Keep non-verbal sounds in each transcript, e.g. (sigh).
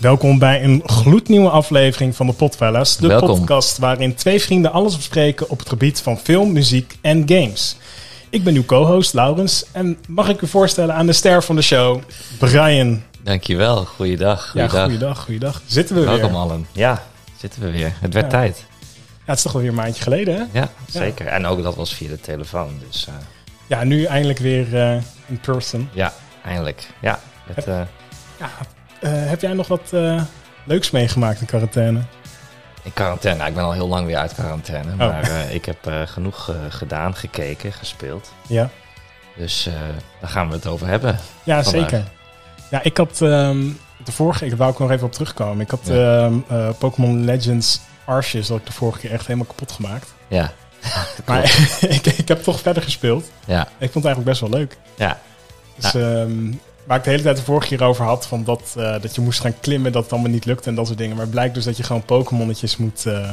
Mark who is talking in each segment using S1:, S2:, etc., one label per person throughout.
S1: Welkom bij een gloednieuwe aflevering van de Potfellas, de
S2: Welkom.
S1: podcast waarin twee vrienden alles bespreken op het gebied van film, muziek en games. Ik ben uw co-host Laurens en mag ik u voorstellen aan de ster van de show, Brian.
S2: Dankjewel, goeiedag.
S1: Ja,
S2: goeiedag.
S1: goeiedag, goeiedag. Zitten we
S2: Welkom
S1: weer.
S2: allen. Ja, zitten we weer. Het werd
S1: Ja.
S2: tijd.
S1: Ja, het is toch wel weer een maandje geleden, hè?
S2: Ja, zeker. En ook dat was via de telefoon. Dus eh,
S1: Ja, nu eindelijk weer eh, in person.
S2: ja, eindelijk. Ja, het, eh,
S1: Ja, eh, heb jij nog wat eh, leuks meegemaakt in quarantaine?
S2: in quarantaine. Nou, ik ben al heel lang weer uit quarantaine.
S1: Oh.
S2: Maar eh, ik heb eh, genoeg eh, gedaan, gekeken, gespeeld.
S1: Ja,
S2: Dus eh, daar gaan we het over hebben.
S1: ja
S2: Vandaag.
S1: zeker. Ja, ik had ehm, de vorige, ik wou ook nog even op terugkomen. Ik had ehm, eh, Pokémon Legends Arceus, dat ik de vorige keer echt helemaal kapot gemaakt.
S2: Ja,
S1: Maar (laughs) ik, ik heb toch verder gespeeld.
S2: ja,
S1: Ik vond het eigenlijk best wel leuk.
S2: ja.
S1: Dus, ehm, waar ik de hele tijd de vorige keer over had, van dat, eh, dat je moest gaan klimmen, dat het allemaal niet lukt en dat soort dingen. Maar het blijkt dus dat je gewoon Pokémonnetjes moet, eh,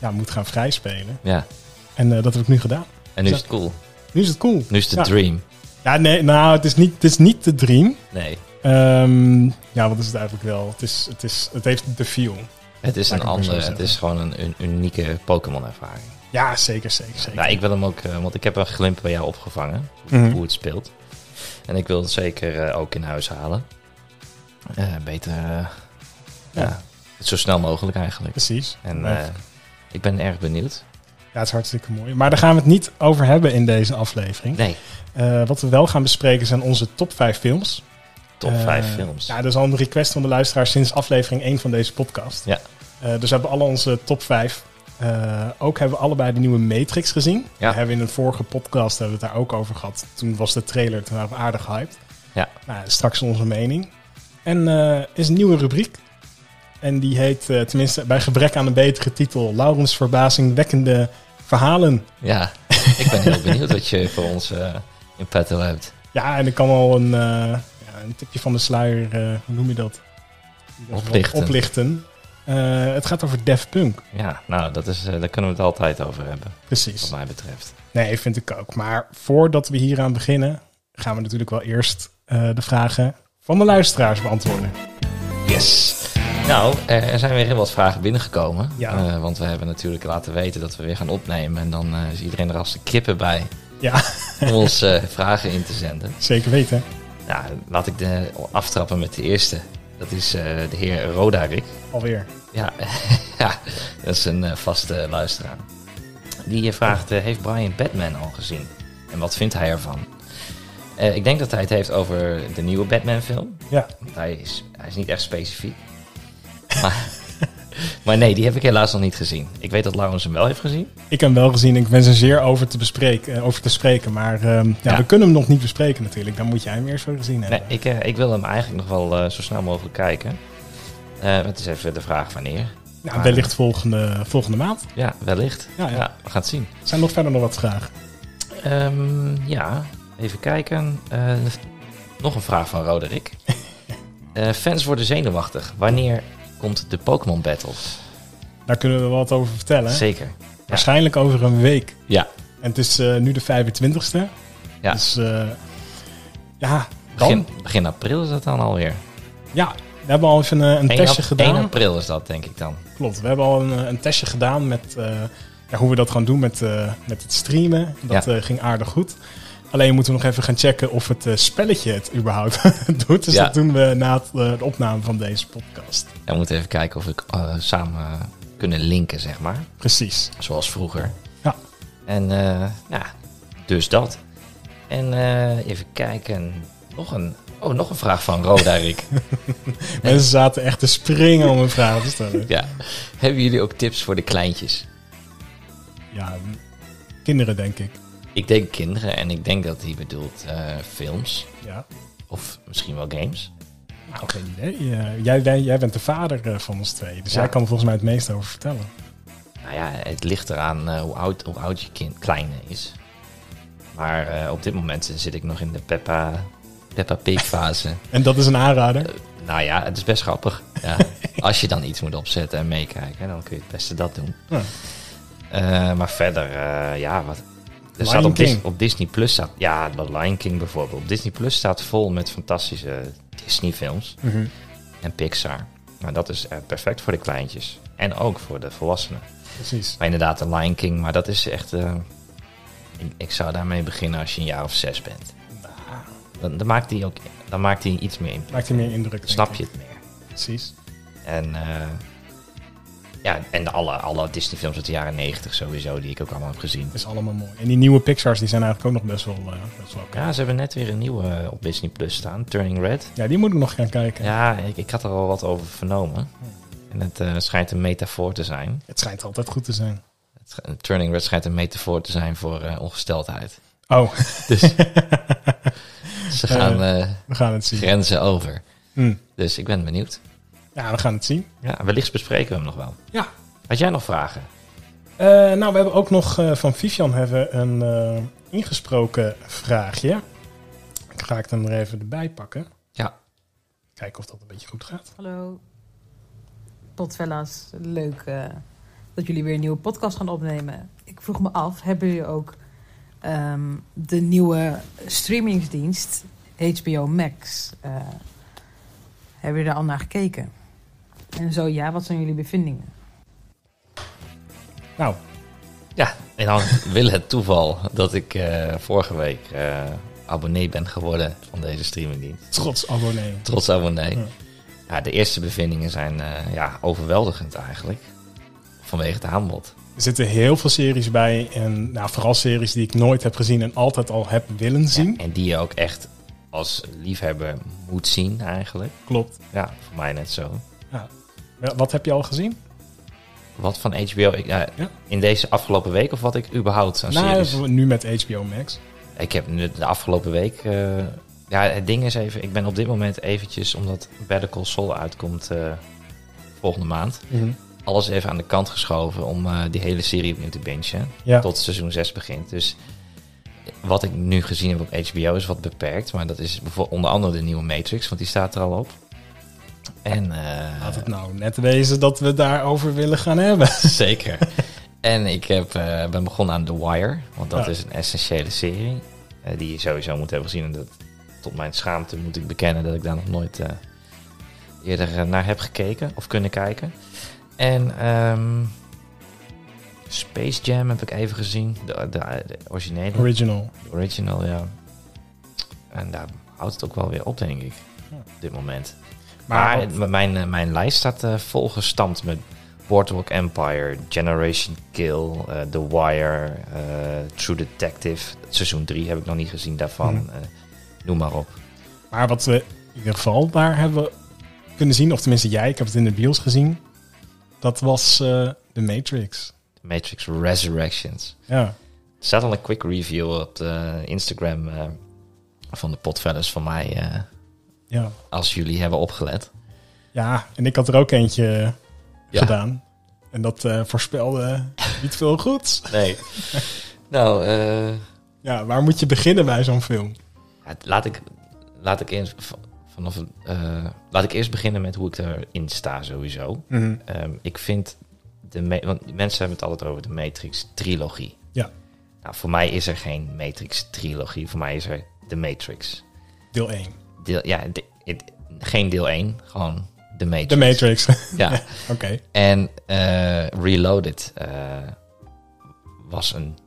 S1: ja, moet gaan vrijspelen.
S2: ja.
S1: En eh, dat heb ik nu gedaan.
S2: En nu
S1: Zo.
S2: is het cool.
S1: Nu is het cool.
S2: Nu is het de
S1: Ja.
S2: dream.
S1: Ja, nee, nou, het is niet, het is niet de dream.
S2: Nee,
S1: Ehm, ja, wat is het eigenlijk wel? Het, is, het, is, het heeft de feel.
S2: het is
S1: Laat
S2: een
S1: ik het maar zo
S2: andere. Het
S1: zeggen.
S2: is gewoon een, een unieke Pokémon-ervaring.
S1: Ja, zeker, zeker, zeker.
S2: Nou, ik wil hem ook, eh, want ik heb een glimp bij jou opgevangen.
S1: Mhm.
S2: hoe het speelt. En ik wil het zeker eh, ook in huis halen. Eh, beter, eh,
S1: Ja.
S2: ja. zo snel mogelijk eigenlijk.
S1: Precies.
S2: En
S1: ja,
S2: eh, ik ben erg benieuwd.
S1: het is hartstikke mooi. Maar daar gaan we het niet over hebben in deze aflevering.
S2: Nee,
S1: Eh, wat we wel gaan bespreken zijn onze top 5 films.
S2: top
S1: Eh,
S2: 5 films.
S1: Ja, dat is al een request van de luisteraar sinds aflevering 1 van deze podcast.
S2: Ja.
S1: Eh, dus we hebben alle onze top 5. Eh, ook hebben we allebei de nieuwe Matrix gezien.
S2: Ja.
S1: We hebben in een vorige podcast hebben we het daar ook over gehad. Toen was de trailer, toen waren we aardig hyped.
S2: Ja.
S1: Nou, straks onze mening. En eh, is een nieuwe rubriek. En die heet, eh, tenminste bij gebrek aan een betere titel, Laurens verbazingwekkende verhalen.
S2: Ja, (laughs) ik ben heel benieuwd wat je voor ons eh, in petto hebt.
S1: Ja, en ik kan al een, eh, ja, een tipje van de sluier, eh, hoe noem je dat?
S2: Oplichten.
S1: Oplichten. Eh, het gaat over Def Punk,
S2: Ja, nou, dat is, eh, daar kunnen we het altijd over hebben, wat
S1: precies.
S2: mij betreft.
S1: Nee, vind ik ook. Maar voordat we hieraan beginnen, gaan we natuurlijk wel eerst eh, de vragen van de luisteraars beantwoorden.
S2: Yes! Nou, eh, er zijn weer heel wat vragen binnengekomen.
S1: Ja.
S2: Eh, want we hebben natuurlijk laten weten dat we weer gaan opnemen. En dan eh, is iedereen er als de kippen bij
S1: Ja, (laughs)
S2: om ons eh, vragen in te zenden.
S1: zeker weten.
S2: Nou, laat ik de, aftrappen met de eerste. Dat is eh, de heer Rodarik.
S1: Alweer.
S2: Ja, (laughs) ja, dat is een eh, vaste luisteraar. Die eh, vraagt, eh, heeft Brian Batman al gezien? En wat vindt hij ervan? Eh, ik denk dat hij het heeft over de nieuwe Batman film.
S1: Ja,
S2: Want hij is, hij is niet echt specifiek. (laughs) Maar, maar nee, die heb ik helaas nog niet gezien. Ik weet dat Laurens hem wel heeft gezien.
S1: ik heb hem wel gezien. Ik ben er zeer over te, bespreken, eh, over te spreken. Maar ehm, ja,
S2: Ja.
S1: we kunnen hem nog niet bespreken natuurlijk. Dan moet jij hem eerst wel gezien
S2: Nee,
S1: hebben.
S2: ik, eh, ik wil hem eigenlijk nog wel eh, zo snel mogelijk kijken. Eh, maar het is even de vraag wanneer.
S1: nou, wellicht volgende, volgende maand.
S2: Ja, wellicht.
S1: Ja, ja.
S2: Ja, we gaan het zien.
S1: Zijn er nog verder nog wat vragen?
S2: Ehm, ja, even kijken. Eh, nog een vraag van
S1: (laughs)
S2: Roderick. Eh, fans worden zenuwachtig. Wanneer komt de Pokémon Battle?
S1: Daar kunnen we wel wat over vertellen.
S2: Zeker.
S1: Waarschijnlijk over een week.
S2: Ja.
S1: En het is eh, nu de 25ste.
S2: Ja.
S1: Dus eh, ja, dan.
S2: Begin, begin april is dat dan alweer.
S1: Ja, we hebben al even eh, een
S2: Eén
S1: testje
S2: ap-
S1: gedaan.
S2: 1 april is dat, denk ik dan.
S1: Klopt, we hebben al een, eh, een testje gedaan met eh, ja, hoe we dat gaan doen met, eh, met het streamen. Dat eh, ging aardig goed. Alleen moeten we nog even gaan checken of het eh, spelletje het überhaupt (laughs) doet. Dus
S2: Ja.
S1: dat doen we na het, eh, de opname van deze podcast.
S2: En we moeten even kijken of we eh, samen kunnen linken, zeg maar.
S1: Precies.
S2: Zoals vroeger.
S1: Ja.
S2: En eh, ja, dus dat. En eh, even kijken. Nog een, oh, nog een vraag van Roderick.
S1: Mensen zaten echt te springen om een vraag te stellen.
S2: ja. Hebben jullie ook tips voor de kleintjes?
S1: Ja, kinderen denk ik.
S2: Ik denk kinderen en ik denk dat hij bedoelt eh, films
S1: Ja.
S2: of misschien wel games.
S1: Nou, geen idee. Eh, jij, jij, jij bent de vader eh, van ons twee, dus
S2: Ja.
S1: jij kan er volgens mij het meeste over vertellen.
S2: Nou ja, het ligt eraan eh, hoe, oud, hoe oud je kind kleine is. Maar eh, op dit moment zit ik nog in de Peppa, Peppa Pig fase.
S1: En dat is een aanrader.
S2: nou ja, het is best grappig. Ja. Als je dan iets moet opzetten en meekijken, dan kun je het beste dat doen.
S1: Ja.
S2: Eh, maar verder, eh, ja, wat... Er
S1: Lion
S2: staat op,
S1: King.
S2: Dis- op Disney Plus staat, ja, de Lion King mhm. bijvoorbeeld. Op Disney Plus staat vol met fantastische Disney films. en Pixar. Nou, dat is eh, perfect voor de kleintjes. En ook voor de volwassenen.
S1: Precies.
S2: Maar inderdaad, de Lion King, maar dat is echt... eh, ik, ik zou daarmee beginnen als je een jaar of zes bent. Dan, dan maakt hij ook dan maakt hij iets meer impact.
S1: Maakt hij meer indruk. denk
S2: Snap
S1: ik.
S2: je het meer.
S1: Precies.
S2: En, eh, ja, en alle, alle Disney-films uit de jaren 90 sowieso, die ik ook allemaal heb gezien.
S1: Dat is allemaal mooi. En die nieuwe Pixar's die zijn eigenlijk ook nog best wel, eh, best wel oké.
S2: Ja, ze hebben net weer een nieuwe eh, op Disney Plus staan, Turning Red.
S1: Ja, die moet ik nog gaan kijken.
S2: Ja, ik, ik had er al wat over vernomen. En het eh, schijnt een metafoor te zijn.
S1: Het schijnt altijd goed te zijn.
S2: Het sch- Turning Red schijnt een metafoor te zijn voor eh, ongesteldheid.
S1: Oh, (laughs)
S2: Dus ze gaan eh,
S1: we gaan het zien.
S2: grenzen over.
S1: Hm.
S2: Dus ik ben benieuwd.
S1: Ja, we gaan het zien.
S2: Ja, wellicht bespreken we hem nog wel.
S1: Ja.
S2: Had jij nog vragen?
S1: Eh, nou, we hebben ook nog eh, van Vivian hebben een eh, ingesproken vraagje. Ik ga ik hem er even erbij pakken.
S2: Ja.
S1: Kijken of dat een beetje goed gaat.
S3: Hallo. Potfellas, leuk eh, dat jullie weer een nieuwe podcast gaan opnemen. Ik vroeg me af, hebben jullie ook ehm, de nieuwe streamingsdienst HBO Max? eh, hebben jullie daar al naar gekeken? En zo ja, wat zijn jullie bevindingen?
S1: Nou,
S2: Ja, en dan (laughs) wil het toeval dat ik eh, vorige week eh, abonnee ben geworden van deze streamingdienst.
S1: trots abonnee.
S2: Trots abonnee.
S1: Ja.
S2: Ja. de eerste bevindingen zijn eh, ja, overweldigend eigenlijk. Vanwege het aanbod.
S1: Er zitten heel veel series bij. En nou, vooral series die ik nooit heb gezien en altijd al heb willen zien.
S2: Ja, en die je ook echt als liefhebber moet zien eigenlijk.
S1: Klopt.
S2: Ja, voor mij net zo.
S1: Ja, Wat heb je al gezien?
S2: Wat van HBO ik, nou,
S1: Ja.
S2: in deze afgelopen week of wat ik überhaupt aan
S1: Nou,
S2: series...
S1: nu met HBO Max.
S2: Ik heb nu de afgelopen week... eh, ja, het ding is even, ik ben op dit moment eventjes, omdat Better Call Saul uitkomt eh, volgende maand, alles even aan de kant geschoven om eh, die hele serie opnieuw te bingen.
S1: Ja.
S2: Tot seizoen 6 begint. Dus wat ik nu gezien heb op HBO is wat beperkt, maar dat is bijvoorbeeld onder andere de nieuwe Matrix, want die staat er al op. En eh,
S1: Laat het nou net wezen dat we daarover willen gaan
S2: (laughs)
S1: hebben.
S2: Zeker. En ik heb, eh, ben begonnen aan The Wire, want dat
S1: Ja.
S2: is een essentiële serie. eh, die je sowieso moet hebben gezien. En dat, tot mijn schaamte moet ik bekennen dat ik daar nog nooit eh, eerder eh, naar heb gekeken of kunnen kijken. En ehm, Space Jam heb ik even gezien, de, de, de originele,
S1: Original.
S2: de original, ja. En daar houdt het ook wel weer op, denk ik, op dit moment. Maar
S1: Maar,
S2: het- mijn, eh, mijn lijst staat eh, volgestampt met Boardwalk Empire, Generation Kill, eh, The Wire, eh, True Detective. Seizoen 3 heb ik nog niet gezien daarvan.
S1: Hmm.
S2: eh, noem maar op.
S1: maar wat we in ieder geval daar hebben kunnen zien, of tenminste jij, ik heb het in de bios gezien, dat was eh The Matrix.
S2: Matrix Resurrections.
S1: Ja,
S2: Er staat al een quick review op de Instagram eh, van de potvellers van mij. eh,
S1: ja.
S2: als jullie hebben opgelet.
S1: ja, en ik had er ook eentje eh,
S2: Ja.
S1: gedaan. En dat eh, voorspelde niet veel goeds.
S2: Nee. nou, eh,
S1: Ja, waar moet je beginnen bij zo'n film?
S2: ja, laat, ik, laat, ik eerst, v- vanaf, eh, laat ik eerst beginnen met hoe ik erin sta sowieso.
S1: Mhm.
S2: Ehm, ik vind, de me- want die mensen hebben het altijd over de Matrix trilogie.
S1: Ja.
S2: Nou, voor mij is er geen Matrix trilogie, voor mij is er de Matrix.
S1: Deel 1.
S2: Deel, ja, de- het- geen deel 1, gewoon de Matrix.
S1: The Matrix. (laughs) Oké.
S2: (laughs) Ja. En eh, Reloaded eh, was een,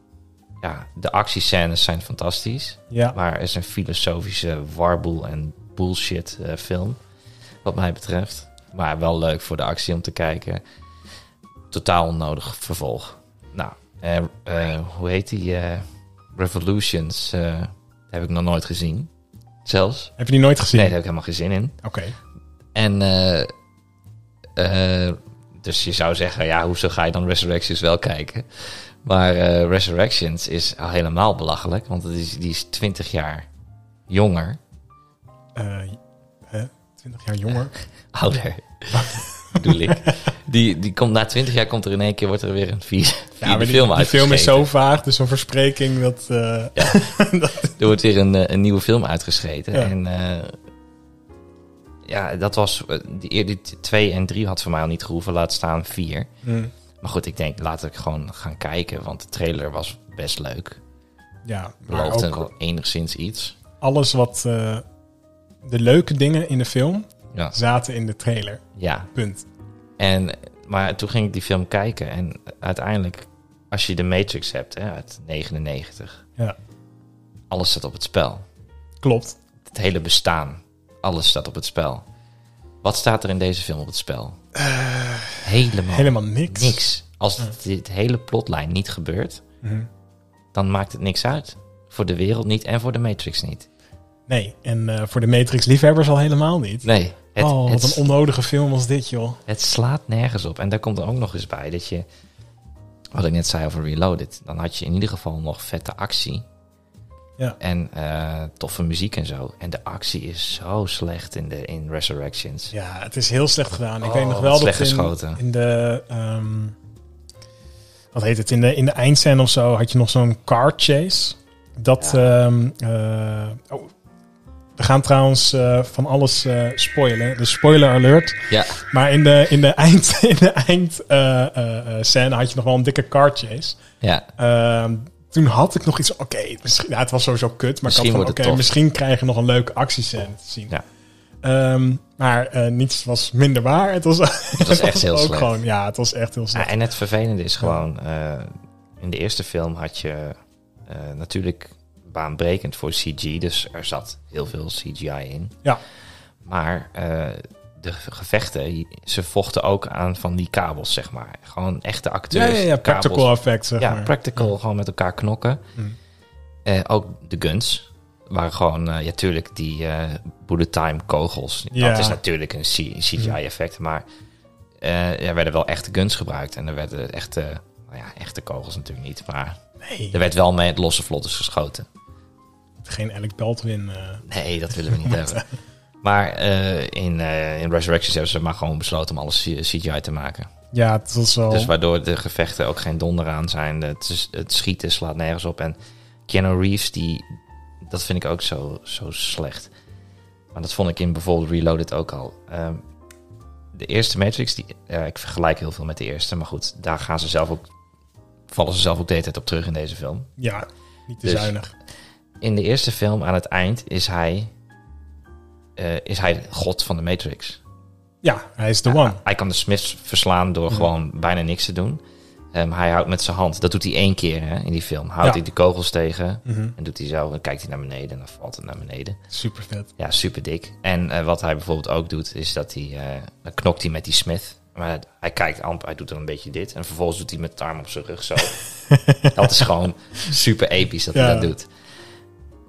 S2: ja, de actiescènes zijn fantastisch.
S1: Ja.
S2: Maar het is een filosofische warboel en bullshit eh, film. Wat mij betreft. Maar wel leuk voor de actie om te kijken. Totaal onnodig vervolg. Nou, eh, eh, hoe heet die? eh, Revolutions eh, heb ik nog nooit gezien. Zelfs.
S1: Heb je die nooit gezien?
S2: Nee, daar heb ik helemaal geen zin in.
S1: Oké.
S2: En eh, eh, dus je zou zeggen, ja, hoezo ga je dan Resurrections wel kijken? Maar eh, Resurrections is al helemaal belachelijk, want het is, die is 20 jaar jonger,
S1: Eh, hè? 20 jaar jonger.
S2: ouder, (laughs) bedoel ik. Die, die komt, na 20 jaar komt er in één keer wordt er weer een vier,
S1: Ja, maar
S2: vierde
S1: die,
S2: film
S1: die film is zo
S2: uitgeschreven.
S1: vaag, dus een verspreking dat... eh,
S2: Er wordt weer een, eh, een nieuwe film uitgeschreven.
S1: Ja.
S2: En eh, ja, dat was, eh, die, eer- die t- twee en drie had voor mij al niet gehoeven, laat staan vier.
S1: mm,
S2: Maar goed, ik denk, laat ik gewoon gaan kijken. Want de trailer was best leuk.
S1: ja, maar
S2: Beloofde
S1: ook
S2: wel enigszins iets.
S1: alles wat... eh, de leuke dingen in de film,
S2: Ja.
S1: zaten in de trailer.
S2: Ja.
S1: Punt.
S2: En, maar toen ging ik die film kijken en uiteindelijk, als je de Matrix hebt hè, uit 99,
S1: Ja.
S2: alles staat op het spel.
S1: Klopt.
S2: Het hele bestaan, alles staat op het spel. Wat staat er in deze film op het spel? helemaal,
S1: Eh, Helemaal niks.
S2: niks. Als dit, dit hele plotlijn niet gebeurt,
S1: Mhm.
S2: dan maakt het niks uit. Voor de wereld niet en voor de Matrix niet.
S1: Nee, en eh, voor de Matrix-liefhebbers al helemaal niet.
S2: Nee, het,
S1: oh,
S2: het,
S1: wat een onnodige film was dit, joh.
S2: Het slaat nergens op. En daar komt er ook nog eens bij dat je. Wat ik net zei over Reloaded. Dan had je in ieder geval nog vette actie.
S1: Ja.
S2: En eh, toffe muziek en zo. En de actie is zo slecht in, de, in Resurrections.
S1: Ja, het is heel slecht gedaan. Ik
S2: Oh,
S1: weet nog
S2: wat
S1: wel dat
S2: slecht
S1: in,
S2: geschoten.
S1: in de... ehm, wat heet het? In de, in de eindscène of zo had je nog zo'n car chase. Dat... ehm, eh, oh, we gaan trouwens eh, van alles eh, spoilen. Dus spoiler alert.
S2: Ja.
S1: Maar in de, in de eind, (laughs) in de eind eh, eh, eh, scène had je nog wel een dikke car chase.
S2: Ja.
S1: Ehm, toen had ik nog iets. Oké, misschien. Ja, het was sowieso kut. Maar ik had
S2: Misschien
S1: van.
S2: wordt
S1: Oké,
S2: het tof.
S1: misschien krijgen we nog een leuke actiescène te zien.
S2: Ja.
S1: Ehm, maar eh, niets was minder waar. Het was, het
S2: was
S1: (laughs)
S2: echt heel
S1: ook
S2: slecht.
S1: Gewoon, ja, het was echt heel slecht.
S2: Ah, en het vervelende is gewoon. eh, in de eerste film had je eh, natuurlijk baanbrekend voor CG. Dus er zat heel veel CGI in.
S1: Ja.
S2: Maar eh, de gevechten, ze vochten ook aan van die kabels, zeg maar. Gewoon echte
S1: ja,
S2: acteurs.
S1: ja, ja,
S2: kabels.
S1: practical effect, zeg
S2: ja,
S1: maar.
S2: practical, gewoon met elkaar knokken.
S1: Mm.
S2: Eh, ook de guns waren gewoon, eh, ja, tuurlijk, die eh, bullet time kogels.
S1: Ja.
S2: Dat is natuurlijk een CGI-effect, maar eh, er werden wel echte guns gebruikt. En er werden echte, nou ja, echte kogels natuurlijk niet, maar
S1: Nee,
S2: er werd wel met losse vlottes geschoten.
S1: geen Alec Baldwin. eh.
S2: Nee, dat willen we niet hebben. Maar eh, in, eh in Resurrections hebben ze maar gewoon besloten om alles C- CGI te maken.
S1: ja, het was wel.
S2: Dus waardoor de gevechten ook geen donder aan zijn. Het, is- het schieten slaat nergens op. En Keanu Reeves, die, dat vind ik ook zo, zo slecht. Maar dat vond ik in bijvoorbeeld Reloaded ook al. Ehm, de eerste Matrix, die, eh, ik vergelijk heel veel met de eerste. Maar goed, daar gaan ze zelf ook, vallen ze zelf ook de hele tijd op terug in deze film
S1: ja, niet te
S2: Dus-
S1: zuinig.
S2: in de eerste film aan het eind is hij, eh, is hij de god van de Matrix.
S1: Ja, hij is de one.
S2: Hij kan de Smiths verslaan door gewoon bijna niks te doen. Ehm, hij houdt met zijn hand, dat doet hij één keer hè, in die film. Houdt
S1: Ja.
S2: hij de kogels tegen
S1: Mhm,
S2: en doet hij zo. Dan kijkt hij naar beneden en dan valt het naar beneden.
S1: Super vet.
S2: Ja, super dik. En eh, wat hij bijvoorbeeld ook doet, is dat hij, eh, dan knokt hij met die Smith. Maar hij kijkt amper, hij doet dan een beetje dit. En vervolgens doet hij met de arm op zijn
S1: (laughs)
S2: rug zo. dat is gewoon super episch dat
S1: Ja.
S2: hij dat doet.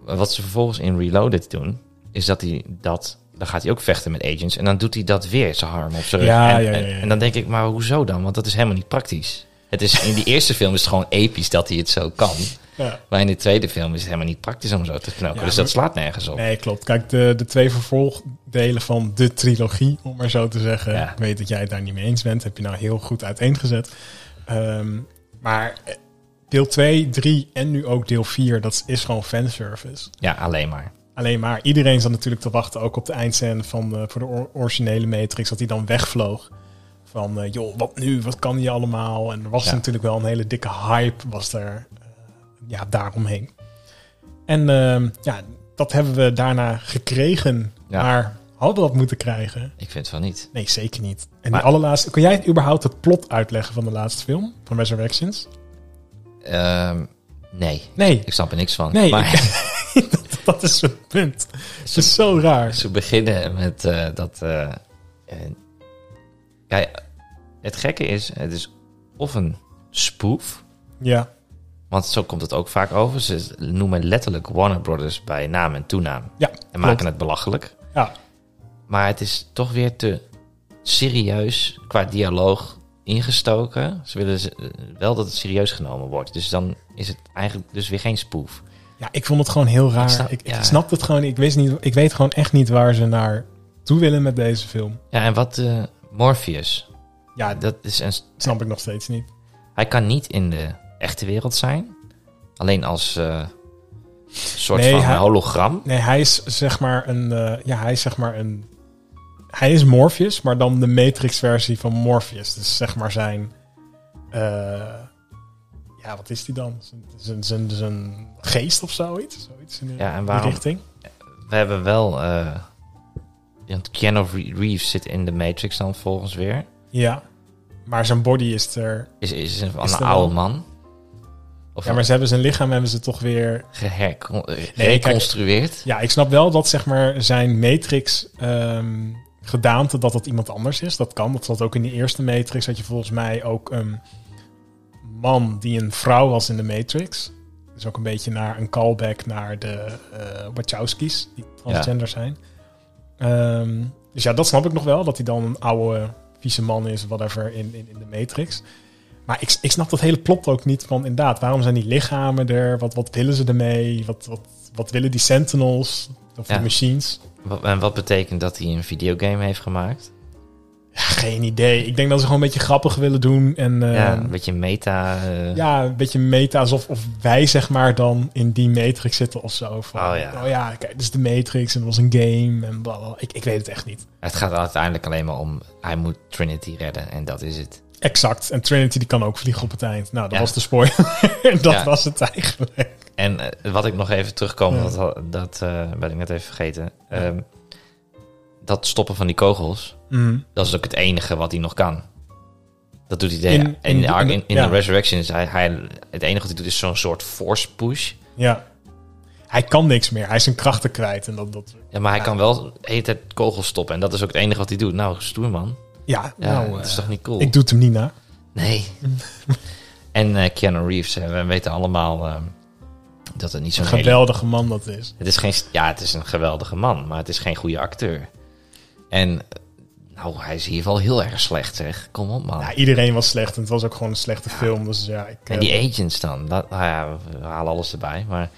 S2: Maar Wat ze vervolgens in Reloaded doen, is dat hij dat... Dan gaat hij ook vechten met agents. En dan doet hij dat weer, zijn arm op zijn rug.
S1: Ja,
S2: en,
S1: ja, ja,
S2: en-
S1: ja.
S2: en dan denk ik, maar hoezo dan? Want dat is helemaal niet praktisch. Het is,
S1: (laughs)
S2: in die eerste film is het gewoon episch dat hij het zo kan.
S1: Ja.
S2: Maar in de tweede film is het helemaal niet praktisch om zo te knokken.
S1: Ja,
S2: dus dat
S1: maar-
S2: slaat nergens op.
S1: Nee, klopt. Kijk, de, de twee vervolgdelen van de trilogie, om maar zo te zeggen.
S2: Ja.
S1: Ik weet dat jij het daar niet mee eens bent. Heb je nou heel goed uiteengezet. Ehm, maar eh, deel 2, 3 en nu ook deel 4, dat is gewoon fanservice.
S2: Ja, alleen maar.
S1: Alleen maar, iedereen zat natuurlijk te wachten ook op de eindscène van eh, voor de or- originele Matrix, dat hij dan wegvloog. Van, eh, joh, wat nu? Wat kan die allemaal? En er was
S2: Ja.
S1: natuurlijk wel een hele dikke hype, was er eh, ja, daaromheen. En ehm, ja, dat hebben we daarna gekregen.
S2: Ja.
S1: Maar hadden we dat moeten krijgen?
S2: Ik vind van niet.
S1: Nee, zeker niet. En
S2: Maar-
S1: die allerlaatste, kun jij het überhaupt het plot uitleggen van de laatste film? Van Resurrections?
S2: Ehm, nee,
S1: Nee,
S2: ik snap er niks van.
S1: Nee,
S2: maar
S1: (laughs) dat is het punt. Het is zo raar.
S2: (laughs) ze beginnen met eh, dat. eh, eh, ja, het gekke is, het is of een spoof,
S1: Ja,
S2: want zo komt het ook vaak over. Ze noemen letterlijk Warner Brothers bij naam en toenaam en
S1: ja,
S2: maken het belachelijk.
S1: ja.
S2: Maar het is toch weer te serieus qua dialoog ingestoken. Ze willen ze- eh, wel dat het serieus genomen wordt. Dus dan is het eigenlijk dus weer geen spoof.
S1: Ja, ik vond het gewoon heel raar. Ik,
S2: Ik snap-
S1: ik
S2: ja.
S1: snap het gewoon. Ik, wist niet, ik weet gewoon echt niet waar ze naar toe willen met deze film.
S2: Ja, en wat eh, Morpheus.
S1: Ja, dat
S2: Dat is een,
S1: snap ik nog steeds niet.
S2: hij kan niet in de echte wereld zijn. Alleen als eh, soort
S1: Nee,
S2: van
S1: hij-
S2: hologram.
S1: Nee, hij is zeg maar een. eh, ja, hij is zeg maar een. Hij is Morpheus, maar dan de Matrix-versie van Morpheus. Dus zeg maar zijn. eh, ja, wat is die dan? Zijn- Zijn, zijn, zijn geest of zoiets? Zoiets in de
S2: Ja, en
S1: die
S2: waarom?
S1: richting.
S2: We hebben wel eh, Want Keanu Reeves zit in de Matrix dan volgens weer.
S1: Ja. Maar zijn body is er.
S2: Is, is een,
S1: Is
S2: een
S1: er
S2: oude
S1: wel-
S2: man. Of eh,
S1: Ja, maar ze hebben zijn lichaam hebben ze toch weer. kijk-
S2: geherconstrueerd.
S1: Ja, ik snap wel dat zeg maar zijn matrix ehm, gedaante dat dat iemand anders is. Dat kan. Dat zat ook in die eerste matrix. Had je volgens mij ook een man die een vrouw was in de matrix. Dus ook een beetje naar een callback naar de eh Wachowskis, die transgender zijn. Ehm, dus ja, dat snap ik nog wel. Dat hij dan een oude vieze man is, whatever, in, in, in de matrix. Maar ik, ik snap dat hele plot ook niet van inderdaad, waarom zijn die lichamen er? Wat, wat willen ze ermee? Wat, wat, wat willen die sentinels? Of
S2: Ja.
S1: die machines?
S2: Wa- En wat betekent dat hij een videogame heeft gemaakt?
S1: Ja, geen idee. Ik denk dat ze gewoon een beetje grappig willen doen. En eh,
S2: ja,
S1: ja,
S2: een beetje meta. eh,
S1: een beetje meta, alsof of wij zeg maar dan in die matrix zitten of zo. Van,
S2: Oh ja.
S1: Oh ja, kijk, dit is de matrix en het was een game en bla bla. Ik, ik weet het echt niet.
S2: Het gaat uiteindelijk alleen maar om... Hij moet Trinity redden en dat is het.
S1: Exact. En Trinity die kan ook vliegen op het eind. Nou, dat
S2: Ja.
S1: was de spoiler. (laughs) dat
S2: Ja.
S1: was het eigenlijk.
S2: En eh, wat ik nog even terugkom,
S1: Ja.
S2: dat, dat eh, ben ik net even vergeten. Ehm, dat stoppen van die kogels,
S1: Mm.
S2: dat is ook het enige wat hij nog kan. Dat doet hij de,
S1: In-
S2: in, in,
S1: in-
S2: de, in, in
S1: ja.
S2: de Resurrection. Is hij, hij, het enige wat hij doet is zo'n soort force push.
S1: Ja. Hij kan niks meer. Hij is zijn krachten kwijt. En dat, dat...
S2: Ja, maar hij kan wel de hele tijd kogels stoppen. En dat is ook het enige wat hij doet. Nou, stoer man.
S1: Ja,
S2: Ja,
S1: nou,
S2: dat is
S1: eh,
S2: toch niet cool?
S1: ik doe het hem niet na.
S2: Nee.
S1: (laughs)
S2: en eh Keanu Reeves, eh, we weten allemaal eh, dat het niet zo'n
S1: Een
S2: hele-
S1: geweldige man dat is.
S2: Het is geen... Ja, het is een geweldige man, maar het is geen goede acteur. En eh, nou, hij is hier wel heel erg slecht, zeg. Kom op, man.
S1: Ja, iedereen was slecht. En het was ook gewoon een slechte film. Dus ja, ik...
S2: en
S1: eh,
S2: die agents dan. Dat, nou ja, we halen alles erbij, maar...